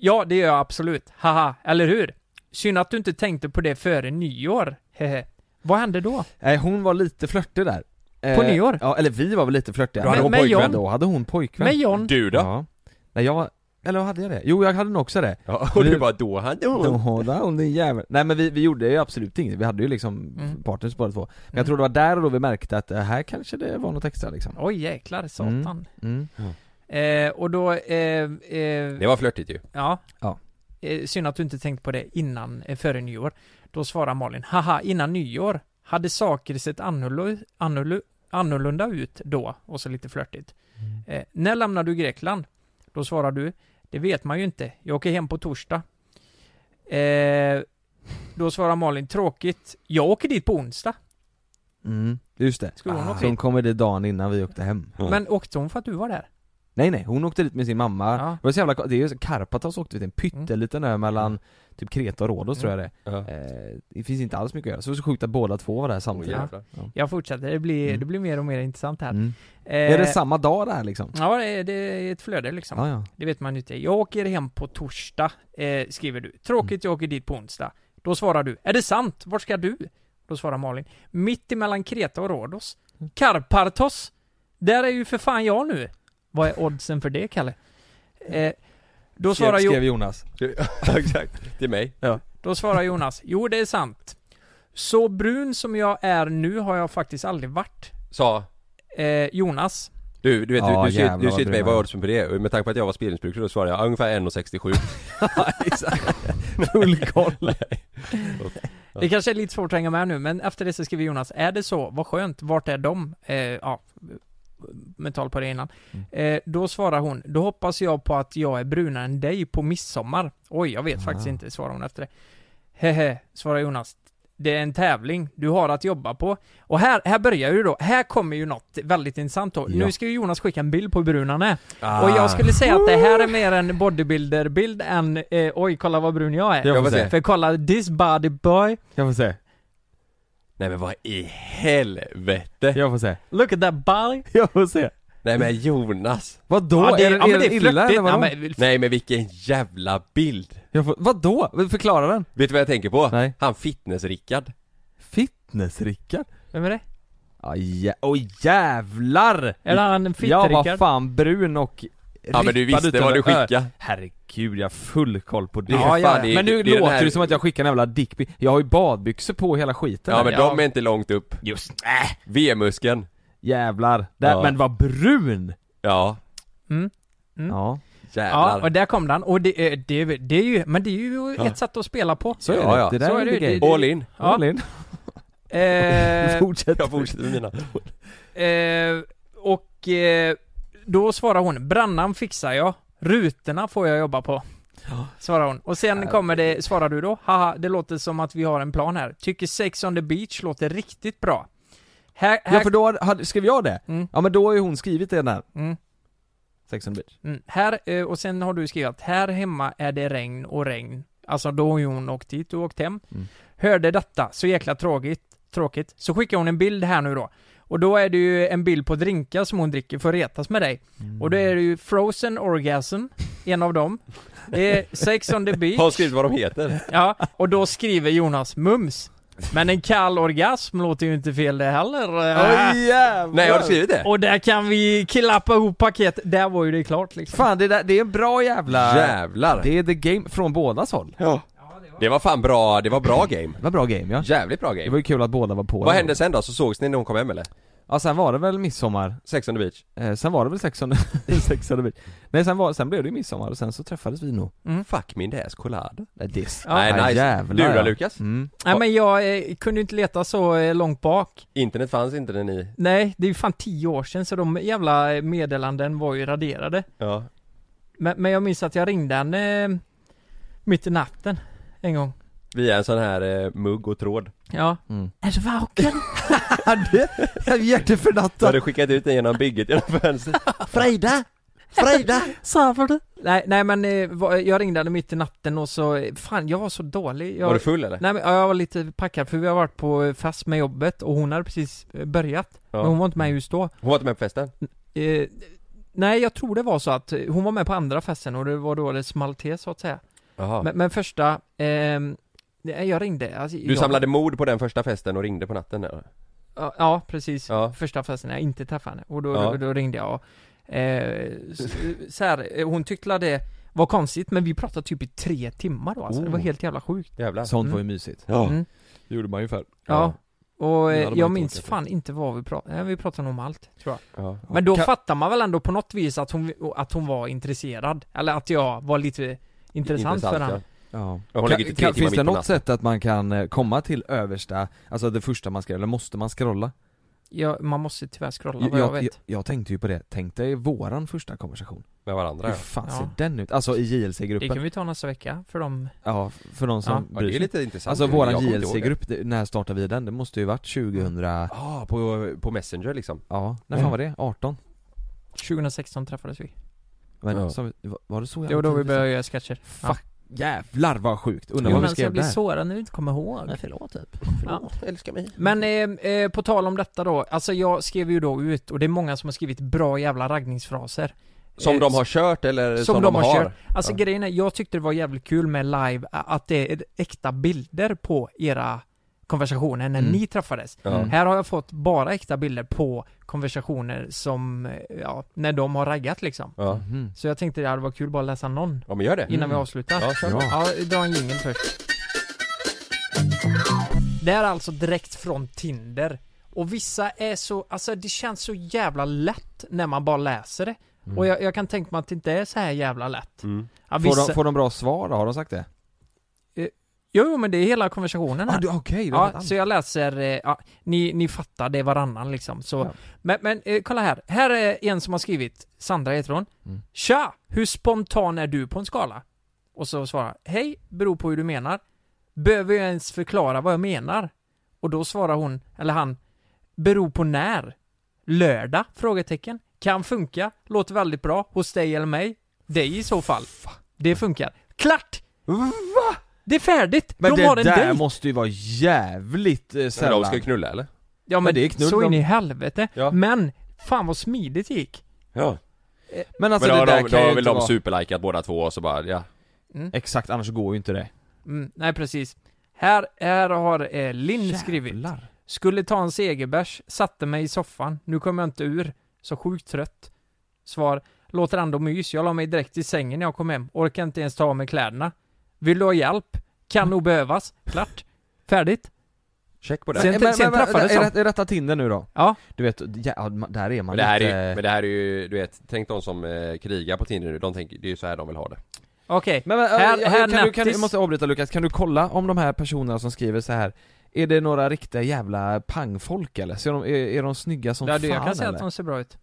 Speaker 5: Ja, det gör jag absolut. Haha, eller hur? Synd att du inte tänkte på det före nyår. Hehe. Vad hände då?
Speaker 4: Nej hon var lite flörtig där
Speaker 5: På
Speaker 4: Eh,
Speaker 5: nyår?
Speaker 4: Ja eller vi var väl lite flörtiga
Speaker 5: Då hade Men- hon men pojkvän. John-
Speaker 4: Då hade hon pojkvän
Speaker 5: Med John?
Speaker 3: Du då?
Speaker 4: Ja. Nej jag, eller hade jag det? Jo jag hade nog också det
Speaker 3: Ja, och du bara då han då.
Speaker 4: Då där hon din jävel Nej men vi, vi gjorde ju absolut inget, vi hade ju liksom
Speaker 5: Mm.
Speaker 4: partners båda två Men
Speaker 5: Mm.
Speaker 4: jag tror det var där och då vi märkte att eh, här kanske det var något extra liksom
Speaker 5: Oj jäklar, satan.
Speaker 4: mm.
Speaker 5: Eh, och då... Eh, eh,
Speaker 3: Det var flörtigt ju.
Speaker 5: Ja.
Speaker 4: Ja.
Speaker 5: Eh, synd att du inte tänkt på det innan, eh, före nyår. Då svarar Malin, haha, innan nyår hade saker sett annorlu- annorlu- annorlunda ut då, och så lite flörtigt.
Speaker 4: Mm.
Speaker 5: Eh, när lämnar du Grekland? Då svarar du, det vet man ju inte, jag åker hem på torsdag. Eh, då svarar Malin, tråkigt, jag åker dit på onsdag.
Speaker 4: Mm. Just det,
Speaker 5: Skulle hon åka
Speaker 4: så hon
Speaker 5: dit?
Speaker 4: kommer det dagen innan vi åkte hem
Speaker 5: Men åkte hon för att du var där?
Speaker 4: Nej nej, hon åkte dit med sin mamma,
Speaker 5: Ja.
Speaker 4: det var så jävla ko- det är ju så- Karpathos åkte vi till en pytteliten ö mellan typ Kreta och Rhodos tror jag det
Speaker 3: Ja.
Speaker 4: är. eh, Det finns inte alls mycket att göra, så det är så sjukt att båda två var där
Speaker 3: Åh,
Speaker 4: samtidigt
Speaker 3: jävlar.
Speaker 5: Jag fortsätter, det blir,
Speaker 4: Mm.
Speaker 5: det blir mer och mer intressant här.
Speaker 4: mm.
Speaker 5: Eh,
Speaker 4: Är det samma dag där liksom?
Speaker 5: Ja, det är, det är ett flöde liksom.
Speaker 4: Ja, ja.
Speaker 5: Det vet man ju inte. Jag åker hem på torsdag, eh, skriver du. Tråkigt, jag åker dit på onsdag. Då svarar du, är det sant? Vart ska du? Då svarar Malin, mitt emellan Kreta och Rhodos.
Speaker 4: Mm.
Speaker 5: Karpartos! Där är ju för fan jag nu! Vad är oddsen för det, Kalle? Eh, då, svarar
Speaker 4: skrev
Speaker 5: jo-
Speaker 4: Jonas
Speaker 3: Ja, Exakt. Till mig.
Speaker 5: då svarar Jonas, jo det är sant. Så brun som jag är nu har jag faktiskt aldrig varit.
Speaker 3: Sa
Speaker 5: Eh, Jonas,
Speaker 3: Du, du vet,
Speaker 4: Ja,
Speaker 3: du, du, ser,
Speaker 4: jävlar
Speaker 3: du
Speaker 4: vad
Speaker 3: ser till mig,
Speaker 4: brun
Speaker 3: vad är
Speaker 4: han är.
Speaker 3: oddsen på det? Med tanke på att jag var spelmissbrukare då svarade jag ungefär 1,67
Speaker 4: Full koll
Speaker 5: Det kanske är lite svårt att hänga med nu, men efter det så skriver Jonas, är det så? Vad skönt, vart är de? Eh, ja, mental på det innan. Eh, då svarar hon, då hoppas jag på att jag är brunare än dig på midsommar. Oj, jag vet faktiskt inte, svarar hon efter det. Hehe, svarar Jonas. det är en tävling du har att jobba på. Och här, här börjar ju då, här kommer ju något väldigt intressant då.
Speaker 8: Ja.
Speaker 5: Nu ska ju Jonas skicka en bild på hur brun han är.
Speaker 8: Ah.
Speaker 5: Och jag skulle säga att det här är mer en bodybuilder-bild än eh, oj kolla vad brun jag är.
Speaker 3: Jag får se.
Speaker 5: För kolla this body boy.
Speaker 4: Jag får se.
Speaker 3: Nej men vad i helvete?
Speaker 4: Jag får se.
Speaker 5: Look at that body.
Speaker 4: Jag får se.
Speaker 3: Nej men Jonas.
Speaker 4: Vadå? Är det- är det illa,
Speaker 3: flörtigt.
Speaker 4: eller vadå?
Speaker 3: Nej, men, nej men vilken jävla bild.
Speaker 4: Jag får, vadå? Förklara den.
Speaker 3: Vet du vad jag tänker på? Nej. Han fitness-Rickard.
Speaker 4: Fitness-Rickard?
Speaker 5: Vem är det?
Speaker 4: Ja, jä- Åh jävlar!
Speaker 5: Eller han
Speaker 4: Jag var
Speaker 5: fitt-Rickard?
Speaker 4: fan brun och
Speaker 3: Ja, men du
Speaker 4: rippad
Speaker 3: visste
Speaker 4: utan
Speaker 3: vad du
Speaker 4: att-
Speaker 3: skickade.
Speaker 4: Äh, Herregud, jag har full koll på det.
Speaker 3: Ja,
Speaker 4: Fan,
Speaker 3: ja, det-
Speaker 4: men nu
Speaker 3: det är den
Speaker 4: låter
Speaker 3: här-
Speaker 4: det som att jag skickar en jävla dickpic. Jag har ju badbyxor på hela skiten.
Speaker 3: Ja
Speaker 4: här.
Speaker 3: men de är inte långt upp.
Speaker 4: Just Äh!
Speaker 3: V-muskeln.
Speaker 4: Jävlar. Där,
Speaker 3: Ja.
Speaker 4: Men vad brun!
Speaker 3: Ja.
Speaker 5: Mm. Mm.
Speaker 4: Ja.
Speaker 5: Ja, och där kom den. Och det, är- det, är- det är ju, men det är ju
Speaker 4: Ja.
Speaker 5: ett sätt att spela på.
Speaker 4: Så är Ja, det. ja. Det där
Speaker 5: Så
Speaker 4: är
Speaker 5: är det
Speaker 4: lite
Speaker 5: ju.
Speaker 4: grej.
Speaker 5: Det- det-
Speaker 3: All in.
Speaker 5: Ja.
Speaker 4: All in.
Speaker 5: Eh,
Speaker 4: Fortsätt.
Speaker 3: Jag fortsätter med mina.
Speaker 5: Eh, och eh, då svarar hon, brännan fixar jag, rutorna får jag jobba på. Svarar hon. Och
Speaker 4: Äh.
Speaker 5: sen kommer det, svarar du då, haha det låter som att vi har en plan här. Tycker Sex on the beach låter riktigt bra. Här, här,
Speaker 4: Ja för då hade, skrev jag det? Ja men då har ju hon skrivit det där.
Speaker 5: Mm.
Speaker 4: Sex on the beach.
Speaker 5: mm, här eh, och sen har du skrivit, här hemma är det regn och regn. Alltså då har ju hon åkt dit och åkt hem.
Speaker 4: Mm.
Speaker 5: Hörde detta, så jäkla tråkigt, tråkigt. Så skickar hon en bild här nu då. Och då är det ju en bild på drinkar som hon dricker för att retas med dig. Och då är det ju Frozen Orgasm, en av dem. Eh, sex on the beach.
Speaker 3: Har skrivit vad de heter.
Speaker 5: Ja, och då skriver Jonas Mums. Men en kall orgasm låter ju inte fel det heller.
Speaker 4: Oj, jävlar. Nej, har du skrivit det?
Speaker 5: Och där kan vi klappa ihop paket. Där var ju det klart liksom.
Speaker 4: Fan det, där, det är en bra jävla...
Speaker 3: Jävlar.
Speaker 4: Det är the game från bådas håll. Ja.
Speaker 3: Det var fan bra, det var bra game.
Speaker 4: Det var bra game ja.
Speaker 3: Jävligt bra game.
Speaker 4: Det var ju kul att båda var på
Speaker 3: Vad
Speaker 4: det.
Speaker 3: hände sen då? Så sågs ni när hon kom hem eller?
Speaker 4: Ja sen var det väl midsommar?
Speaker 3: Sex on the beach?
Speaker 4: Eh, sen var det väl sex on, sex on the beach? Nej sen, var, sen blev det ju midsommar och sen så träffades vi nog.
Speaker 3: Mm. Fuck min ass collad.
Speaker 4: Nej det är
Speaker 3: Nej
Speaker 4: Ja,
Speaker 3: nice.
Speaker 4: jävlar,
Speaker 3: Lura
Speaker 4: ja.
Speaker 3: Lukas.
Speaker 4: Mm.
Speaker 5: Nej men jag eh, kunde ju inte leta så eh, långt bak.
Speaker 3: Internet fanns inte när ni...
Speaker 5: Nej, det är ju fan tio år sedan så de jävla eh, meddelanden var ju raderade.
Speaker 3: Ja.
Speaker 5: Men, men jag minns att jag ringde henne eh, mitt i natten en gång.
Speaker 3: Via en sån här eh, mugg och tråd.
Speaker 5: Ja.
Speaker 4: Mm.
Speaker 5: Är du vaken?
Speaker 3: Du hade skickat ut den genom bygget genom fönstret.
Speaker 5: Frida! Frida! Sover du? Nej, nej men eh, va- jag ringde henne mitt i natten och så, eh, fan jag var så dålig jag,
Speaker 3: Var du full, eller?
Speaker 5: Nej men ja, jag var lite packad för vi har varit på eh, fest med jobbet och hon hade precis eh, börjat
Speaker 3: Ja.
Speaker 5: Men hon var inte med just då
Speaker 3: Hon var inte med på festen?
Speaker 5: eh, Nej jag tror det var så att eh, hon var med på andra festen och det var då det small till så att säga
Speaker 3: Jaha.
Speaker 5: men, men första, ehm, nej, jag ringde alltså,
Speaker 3: Du samlade mod på den första festen och ringde på natten där?
Speaker 5: Ja, ja, precis.
Speaker 3: Ja.
Speaker 5: Första festen när jag inte träffade henne. Och då,
Speaker 3: Ja.
Speaker 5: då, ringde jag och, eh, s- så här, eh, hon tyckte att det var konstigt men vi pratade typ i tre timmar då alltså. Det var
Speaker 4: Oh.
Speaker 5: helt jävla sjukt.
Speaker 3: Jävlar.
Speaker 4: Sånt var ju
Speaker 5: Mm.
Speaker 4: mysigt.
Speaker 3: Ja.
Speaker 5: Mm.
Speaker 4: Det gjorde man ju förr.
Speaker 5: Ja.
Speaker 4: Det
Speaker 5: Och
Speaker 4: hade
Speaker 5: eh,
Speaker 4: man inte
Speaker 5: jag minns
Speaker 4: orkat.
Speaker 5: fan inte vad vi pratade, vi pratade nog om allt tror jag.
Speaker 3: Ja.
Speaker 5: Men då
Speaker 4: Kan-
Speaker 5: fattar man väl ändå på något vis att hon, att hon var intresserad. Eller att jag var lite intressant, för henne.
Speaker 4: Ja.
Speaker 3: Och hon
Speaker 4: Kan,
Speaker 3: ligger till tre timmar
Speaker 4: kan,
Speaker 3: mitt
Speaker 4: finns
Speaker 3: på
Speaker 4: det något
Speaker 3: natten.
Speaker 4: sätt att man kan eh, komma till översta, alltså det första man ska eller måste man scrolla?
Speaker 5: Jag, man måste tyvärr scrolla
Speaker 4: Jag,
Speaker 5: vad jag,
Speaker 4: jag,
Speaker 5: vet.
Speaker 4: jag, tänkte ju på det, tänk dig våran första konversation.
Speaker 3: Med varandra
Speaker 4: Hur
Speaker 3: ja.
Speaker 4: fan ser
Speaker 5: Ja.
Speaker 4: den ut? Alltså i
Speaker 5: det kan
Speaker 4: JLC-gruppen?
Speaker 5: vi ta nästa vecka för dem.
Speaker 4: Ja, f- för någon som
Speaker 5: Ja.
Speaker 3: Ja, det är lite intressant.
Speaker 4: Alltså
Speaker 3: Jag
Speaker 4: våran
Speaker 3: kommer inte ihåg
Speaker 4: JLC-grupp, det- när startade vi den? Det måste ju varit 2000, ja,
Speaker 3: Ja, på, på Messenger liksom.
Speaker 4: när fan var det? 18?
Speaker 5: 2016 träffades vi.
Speaker 4: Men,
Speaker 3: Ja.
Speaker 4: sa vi- var- var det så
Speaker 5: Det var då vi
Speaker 4: tidigt?
Speaker 5: började göra sketcher. Ja.
Speaker 4: Fuck, jävlar vad sjukt! Undrar vad vi
Speaker 5: Jonas, jag
Speaker 4: skrev
Speaker 5: blir
Speaker 4: där?
Speaker 5: sårad när du inte kommer ihåg.
Speaker 4: förlåt typ.
Speaker 5: Ja.
Speaker 3: Älskar mig.
Speaker 5: Men eh, eh, på tal om detta då, alltså jag skrev ju då ut, och det är många som har skrivit bra jävla raggningsfraser.
Speaker 3: Som
Speaker 5: Eh,
Speaker 3: de har kört eller
Speaker 5: som,
Speaker 3: som,
Speaker 5: de, har kört. Alltså
Speaker 3: Ja.
Speaker 5: grejen är, jag tyckte det var jävligt kul med live, a- att det är äkta bilder på era konversationer när
Speaker 4: Mm.
Speaker 5: ni träffades.
Speaker 3: Ja.
Speaker 5: Här har jag fått bara äkta bilder på konversationer som, eh, ja, när de har raggat liksom.
Speaker 3: Ja.
Speaker 5: Så jag tänkte det hade varit kul bara att läsa någon.
Speaker 3: ja, men gör det. Mm.
Speaker 5: Innan
Speaker 4: Mm.
Speaker 5: vi avslutar.
Speaker 3: Ja, kör.
Speaker 5: Ja, dra en jingel först. Det här är alltså direkt från Tinder. Och vissa är så, alltså det känns så jävla lätt när man bara läser det.
Speaker 4: Mm.
Speaker 5: Och jag, jag kan tänka mig att det inte är så här jävla lätt.
Speaker 3: Mm.
Speaker 5: Ja,
Speaker 4: Får,
Speaker 5: vissa,
Speaker 4: de, får de bra svar då? Har de sagt det?
Speaker 5: Jo, jo, men det är hela konversationen
Speaker 4: Ah,
Speaker 5: här.
Speaker 4: du- Okej, du har
Speaker 5: Ja,
Speaker 4: fått
Speaker 5: så jag läser, eh, ja, ni, ni fattar, det är varannan liksom. Så,
Speaker 4: Ja.
Speaker 5: Men, men eh, kolla här, här är en som har skrivit, Sandra heter hon.
Speaker 4: Mm.
Speaker 5: Tja! Hur spontan är du på en skala? Och så svarar jag, Hej, beror på hur du menar. Behöver jag ens förklara vad jag menar? Och då svarar hon, eller han, beror på när? Lördag? Frågetecken. Kan funka. Låter väldigt bra. Hos dig eller mig? Dig i så fall. Det funkar. Klart! Va? Det är färdigt!
Speaker 4: Men
Speaker 5: De
Speaker 4: det
Speaker 5: har en
Speaker 4: där
Speaker 5: dejt!
Speaker 4: måste ju vara jävligt eh,
Speaker 3: Men
Speaker 4: sällan
Speaker 3: de ska ju knulla eller?
Speaker 5: Ja men,
Speaker 4: det är knull
Speaker 5: så in
Speaker 4: de-
Speaker 5: i helvete. Men, fan vad smidigt det gick.
Speaker 3: Ja
Speaker 4: Men alltså
Speaker 3: Men då,
Speaker 4: det där
Speaker 3: har de, då
Speaker 4: kan
Speaker 3: har
Speaker 4: ju
Speaker 3: väl
Speaker 4: inte
Speaker 3: de
Speaker 4: vara...
Speaker 3: superlikat båda två och så bara, ja
Speaker 4: Exakt, annars går ju inte det
Speaker 5: Mm, nej precis. Här, här har eh, Linn skrivit. Skulle ta en segerbärs, satte mig i soffan. Nu kommer jag inte ur. Så sjukt trött. Svar. Låter ändå mys. Jag la mig direkt i sängen när jag kom hem. Orkar inte ens ta av mig kläderna. Vill du ha hjälp? Kan nog behövas. Klart. Färdigt.
Speaker 3: Check på det
Speaker 5: Sen,
Speaker 4: Men- men-
Speaker 5: sen
Speaker 4: men-
Speaker 5: träffades
Speaker 4: är,
Speaker 5: de.
Speaker 4: det- är detta Tinder nu då?
Speaker 5: Ja.
Speaker 4: Du vet, ja, man- där är
Speaker 3: Men
Speaker 4: man
Speaker 3: det här
Speaker 4: lite...
Speaker 3: är ju, men det här är ju, du vet, tänk de som eh, krigar på Tinder nu, de tänker, det är ju så här de vill ha det
Speaker 5: Okej.
Speaker 4: Men, men,
Speaker 5: Här-
Speaker 4: jag,
Speaker 5: här
Speaker 4: kan, du, kan, du-
Speaker 5: nattis.
Speaker 4: jag måste avbryta Lukas, kan du kolla om de här personerna som skriver så här Är det några riktiga jävla pangfolk eller? Så är, de, är, är de snygga som
Speaker 5: Ja, du,
Speaker 4: fan
Speaker 5: jag kan säga
Speaker 4: eller?
Speaker 5: att de ser bra ut.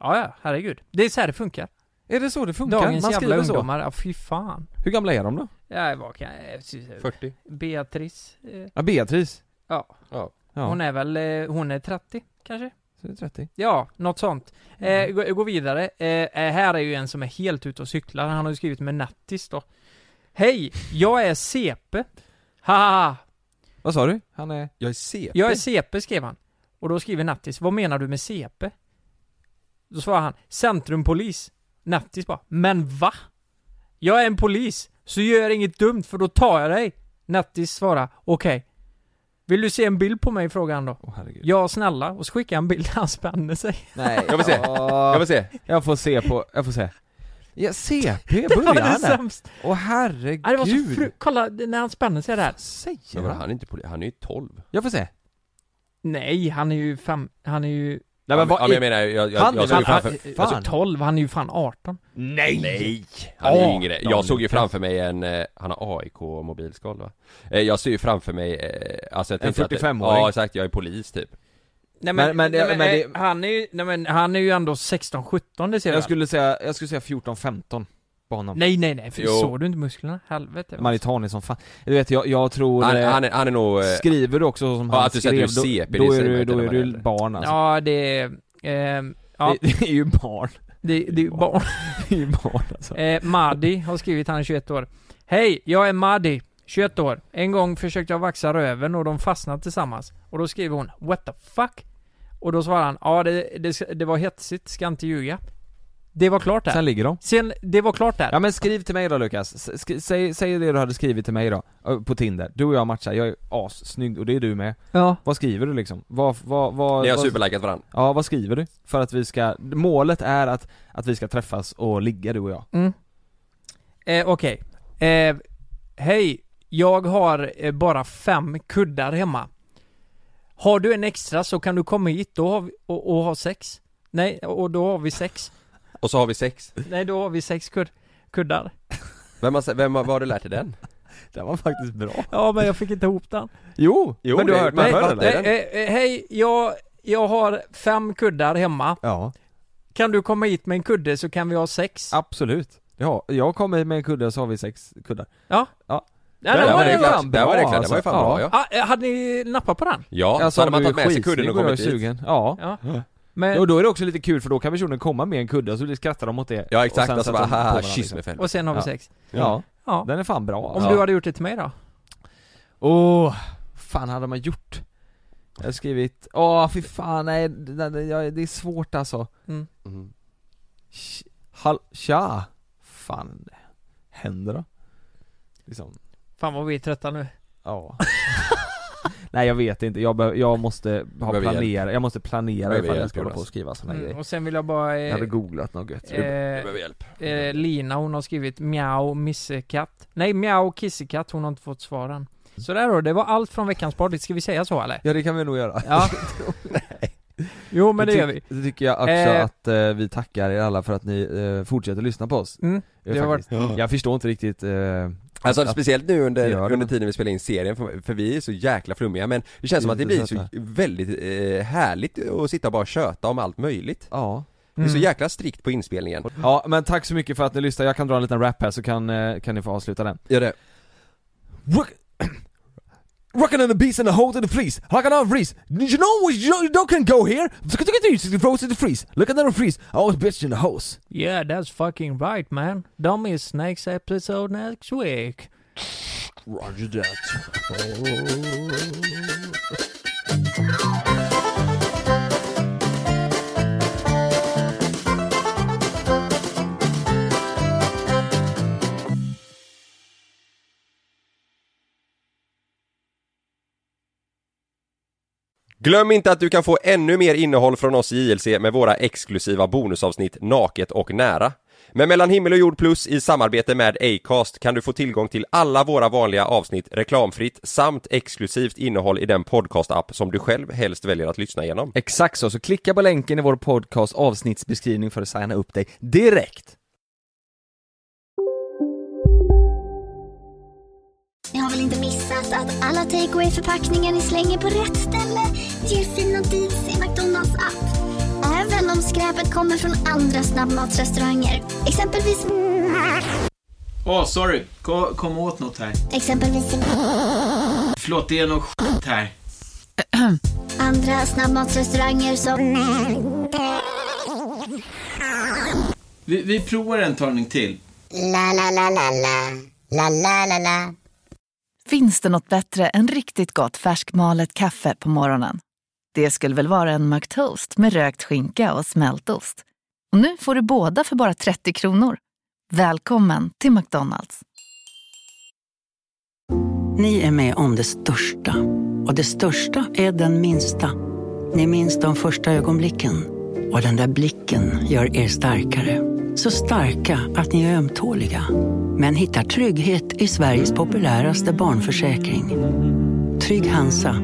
Speaker 5: Ja, ja, herregud. Det är så här det funkar.
Speaker 4: Är det så det funkar?
Speaker 5: Dagens
Speaker 4: man
Speaker 5: jävla
Speaker 4: skriver så?
Speaker 5: ungdomar, ja fy fan.
Speaker 4: Hur gamla är de då?
Speaker 5: Ja, vad kan jag...
Speaker 3: 40
Speaker 5: Beatrice. eh,
Speaker 4: Ja, Beatrice?
Speaker 5: Ja.
Speaker 3: Ja,
Speaker 4: Ja,
Speaker 5: Hon är väl, eh, hon är 30 kanske?
Speaker 4: så är det Mm. 30
Speaker 5: Ja, något sånt. Eh, gå, gå vidare. Eh, eh, här är ju en som är helt ute och cyklar. Han har ju skrivit med Nattis då. Hej, jag är CP. Haha,
Speaker 4: Vad sa du? Han är...
Speaker 3: Jag är CP
Speaker 5: jag är CP skrev han. Och då skriver Nattis, vad menar du med CP? Då svarar han, centrumpolis. Nattis bara, men va? Jag är en polis, så gör inget dumt för då tar jag dig. Nattis svarar, okej. Vill du se en bild på mig? frågar han då.
Speaker 4: Åh herregud
Speaker 5: Ja, snälla. Och så skickar han en bild där han spänner sig.
Speaker 4: Nej,
Speaker 3: Jag vill se. Jag vill se!
Speaker 4: Jag får se på, jag får se Ja, CP
Speaker 5: Det var det
Speaker 4: börjar han
Speaker 5: sämsta.
Speaker 4: Åh herregud!
Speaker 5: Nej, det var så fru... Kolla det- när han spänner sig där.
Speaker 4: Säger
Speaker 3: Men vadå,
Speaker 4: han?
Speaker 3: han är inte poli- han är ju 12
Speaker 4: Jag får se
Speaker 5: Nej, han är ju fem... Han är ju...
Speaker 4: Nej men
Speaker 3: ja,
Speaker 4: vad
Speaker 3: men
Speaker 4: är...
Speaker 3: jag menar, jag, jag,
Speaker 4: Han
Speaker 3: jag
Speaker 4: är
Speaker 3: såg ju
Speaker 4: väl
Speaker 3: framför
Speaker 4: Fan.
Speaker 5: Alltså 12, han är ju fan 18.
Speaker 4: Nej!
Speaker 3: Nej! Han är ju
Speaker 4: Ja,
Speaker 3: yngre.
Speaker 4: de-
Speaker 3: Jag såg ju framför mig en, eh, han har AIK mobilskal va? Eh, Jag ser ju framför mig, eh, alltså jag
Speaker 4: En
Speaker 3: tänkte att-
Speaker 4: 45-åring.
Speaker 3: Ja exakt, jag är polis typ
Speaker 5: Nej eh,
Speaker 4: Men- men- nej, men men det-
Speaker 5: han är ju... Nej men han är ju ändå 16-17 det ser
Speaker 4: Jag skulle säga, jag skulle säga 14-15 på honom
Speaker 5: Nej nej nej, för
Speaker 3: Jo.
Speaker 5: såg du inte musklerna? Helvete.
Speaker 4: Man är tanig som fan Du vet, jag, jag tror...
Speaker 3: Han,
Speaker 4: eh,
Speaker 3: han, är, han är nog, eh,
Speaker 4: skriver du också så som
Speaker 3: ja,
Speaker 4: han
Speaker 3: att du säger
Speaker 4: skrev,
Speaker 3: att du är CP,
Speaker 4: då,
Speaker 3: det
Speaker 4: då är
Speaker 3: säger man
Speaker 4: du,
Speaker 3: inte
Speaker 4: då
Speaker 3: när
Speaker 4: är
Speaker 3: man är
Speaker 4: du
Speaker 3: äldre.
Speaker 4: barn alltså.
Speaker 5: Ja det är... ehm, ja,
Speaker 4: Det, det är ju barn.
Speaker 5: det, det är ju barn.
Speaker 4: Det är ju barn alltså.
Speaker 5: Eh, Madi har skrivit, han är 21 år. Hej, jag är Madi, 21 år. En gång försökte jag vaxa röven och de fastnade tillsammans. Och då skriver hon 'What the fuck?' Och då svarar han 'Ja, det, det, det var hetsigt, ska inte ljuga' Det var klart
Speaker 4: Sen
Speaker 5: där.
Speaker 4: ligger de.
Speaker 5: Sen, det var klart där.
Speaker 4: Ja men skriv till mig då Lukas, S- skri- säg, säg det du hade skrivit till mig då, ö, på Tinder. Du och jag matchar, jag är assnygg och det är du med.
Speaker 5: Ja.
Speaker 4: Vad skriver du liksom? Vad, vad, vad,
Speaker 3: ni har
Speaker 4: vad
Speaker 3: superlikat varandra
Speaker 4: Ja vad skriver du? För att vi ska, målet är att, att vi ska träffas och ligga du och jag.
Speaker 5: Mm. Eh, Okej. Eh, Hej, jag har eh, bara fem kuddar hemma. Har du en extra så kan du komma hit då har vi, och, och ha sex. Nej, och då har vi sex.
Speaker 3: Och så har vi sex
Speaker 5: Nej, då har vi sex kud, kuddar.
Speaker 3: Vem har, vem har, vad har du lärt dig den?
Speaker 4: Det var faktiskt bra.
Speaker 5: Ja men jag fick inte ihop den.
Speaker 4: Jo!
Speaker 3: Jo,
Speaker 4: men du
Speaker 3: det-
Speaker 4: har hört
Speaker 3: men-
Speaker 4: mig förr
Speaker 3: vad-
Speaker 4: eller?
Speaker 3: det- den?
Speaker 5: Eh, eh, hej, jag, jag har fem kuddar hemma.
Speaker 4: Ja,
Speaker 5: Kan du komma hit med en kudde så kan vi ha sex?
Speaker 4: absolut. Ja, jag kommer med en kudde och så har vi sex kuddar.
Speaker 5: Ja.
Speaker 4: Ja.
Speaker 5: Nej,
Speaker 3: Där
Speaker 5: det
Speaker 3: var
Speaker 5: var
Speaker 3: det
Speaker 5: det
Speaker 3: klart.
Speaker 5: bra.
Speaker 3: Där var det klart, det var ju
Speaker 4: alltså.
Speaker 3: fan bra, ja.
Speaker 5: Ah, eh, hade ni nappat på den?
Speaker 3: Ja,
Speaker 4: Jag
Speaker 3: så
Speaker 4: sa
Speaker 3: hade man
Speaker 4: Alltså, du är
Speaker 3: tagit med sig kudden
Speaker 4: skitsnygg
Speaker 3: och
Speaker 4: jag är
Speaker 3: kommit dit
Speaker 4: sugen. Ja.
Speaker 5: Ja.
Speaker 4: Ja.
Speaker 5: Men,
Speaker 4: Och då är det också lite kul för då kan personen komma med en kudde och så skrattar de åt det
Speaker 3: Ja exakt,
Speaker 4: och
Speaker 3: alltså
Speaker 4: sätter
Speaker 3: bara
Speaker 4: de på
Speaker 3: haha,
Speaker 4: varandra,
Speaker 3: kyss
Speaker 4: liksom.
Speaker 3: mig själv
Speaker 5: och sen har vi
Speaker 4: Ja.
Speaker 5: sex?
Speaker 4: ja.
Speaker 5: Ja.
Speaker 4: den är fan bra
Speaker 5: Om
Speaker 4: alltså.
Speaker 5: du hade gjort det till mig då?
Speaker 4: Åh, fan hade man gjort? Jag har skrivit, åh fy fan nej, det, det, jag- det är svårt alltså
Speaker 5: Mm.
Speaker 3: Mm.
Speaker 4: Sh- Hall, tja, fan händer då? Liksom,
Speaker 5: Fan vad vi är trötta nu.
Speaker 4: ja Nej jag vet inte, jag, behöv, jag måste ha
Speaker 3: Behöver hjälp.
Speaker 4: planera, jag måste planera
Speaker 3: Behöver
Speaker 4: ifall jag
Speaker 3: hjälp,
Speaker 4: ska hålla på
Speaker 3: Jonas.
Speaker 4: och skriva såna här
Speaker 5: Mm.
Speaker 4: grejer
Speaker 5: Och sen vill jag bara...
Speaker 4: Jag
Speaker 5: Eh,
Speaker 4: hade googlat något gött
Speaker 3: Jag
Speaker 5: eh,
Speaker 3: behöver hjälp
Speaker 5: eh, Lina hon har skrivit mjau missekatt. Nej mjau kissekatt, hon har inte fått svaren. Så där då, det var allt från veckans party. Ska vi säga så eller?
Speaker 4: Ja det kan vi nog göra
Speaker 5: Ja. Jo men det
Speaker 4: Då
Speaker 5: gör vi.
Speaker 4: tyck- Då tycker jag också
Speaker 5: Eh.
Speaker 4: att eh, vi tackar er alla för att ni eh, fortsätter lyssna på oss
Speaker 5: Mm.
Speaker 4: eh,
Speaker 5: Det har varit-
Speaker 4: faktiskt. Jag förstår inte riktigt eh,
Speaker 3: Alltså
Speaker 4: att-
Speaker 3: speciellt nu under,
Speaker 4: Ja, det-
Speaker 3: under tiden vi spelar in serien, för, för vi är så jäkla flummiga men det känns som att det blir så väldigt eh, härligt att sitta och bara köta om allt möjligt
Speaker 4: Ja.
Speaker 3: Det
Speaker 5: Mm.
Speaker 3: är så jäkla strikt på inspelningen
Speaker 4: ja, men tack så mycket för att ni lyssnar. Jag kan dra en liten rap här så kan, eh, kan ni få avsluta den.
Speaker 3: Gör det
Speaker 4: Wok-
Speaker 3: Rockin' on the beast and the hole to the freeze. Like on freeze. Did you know what you don't can go here? Frozen to freeze. Look at the freeze. Oh, bitch in the hose.
Speaker 5: Yeah, that's fucking right man. Don't miss next episode next week.
Speaker 3: Roger that.
Speaker 4: Glöm inte att du kan få ännu mer innehåll från oss i JLC med våra exklusiva bonusavsnitt Naket och nära. Med Mellan himmel och jord plus i samarbete med Acast kan du få tillgång till alla våra vanliga avsnitt reklamfritt samt exklusivt innehåll i den podcastapp som du själv helst väljer att lyssna igenom.
Speaker 3: Exakt så, så klicka på länken i vår podcast avsnittsbeskrivning för att signa upp dig direkt.
Speaker 6: Ni har väl inte missat att alla takeaway förpackningar ni slänger på rätt ställe ger fina deals i McDonalds app. Även om skräpet kommer från andra snabbmatsrestauranger. Exempelvis...
Speaker 7: Åh, sorry. Kom, kom åt något här.
Speaker 6: Exempelvis...
Speaker 7: Förlåt, det är något skit här.
Speaker 6: Andra snabbmatsrestauranger som...
Speaker 7: Vi, vi provar en talning till.
Speaker 9: La, la, la, la, la. La, la, la, la.
Speaker 10: Finns det något bättre än riktigt gott färskmalet kaffe på morgonen? Det skulle väl vara en McToast med rökt skinka och smältost? Och nu får du båda för bara 30 kronor. Välkommen till McDonalds.
Speaker 11: Ni är med om det största. Och det största är den minsta. Ni minns de första ögonblicken. Och den där blicken gör er starkare. Så starka att ni är ömtåliga. Men hittar trygghet i Sveriges populäraste barnförsäkring. Trygg Hansa.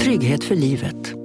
Speaker 11: Trygghet för livet.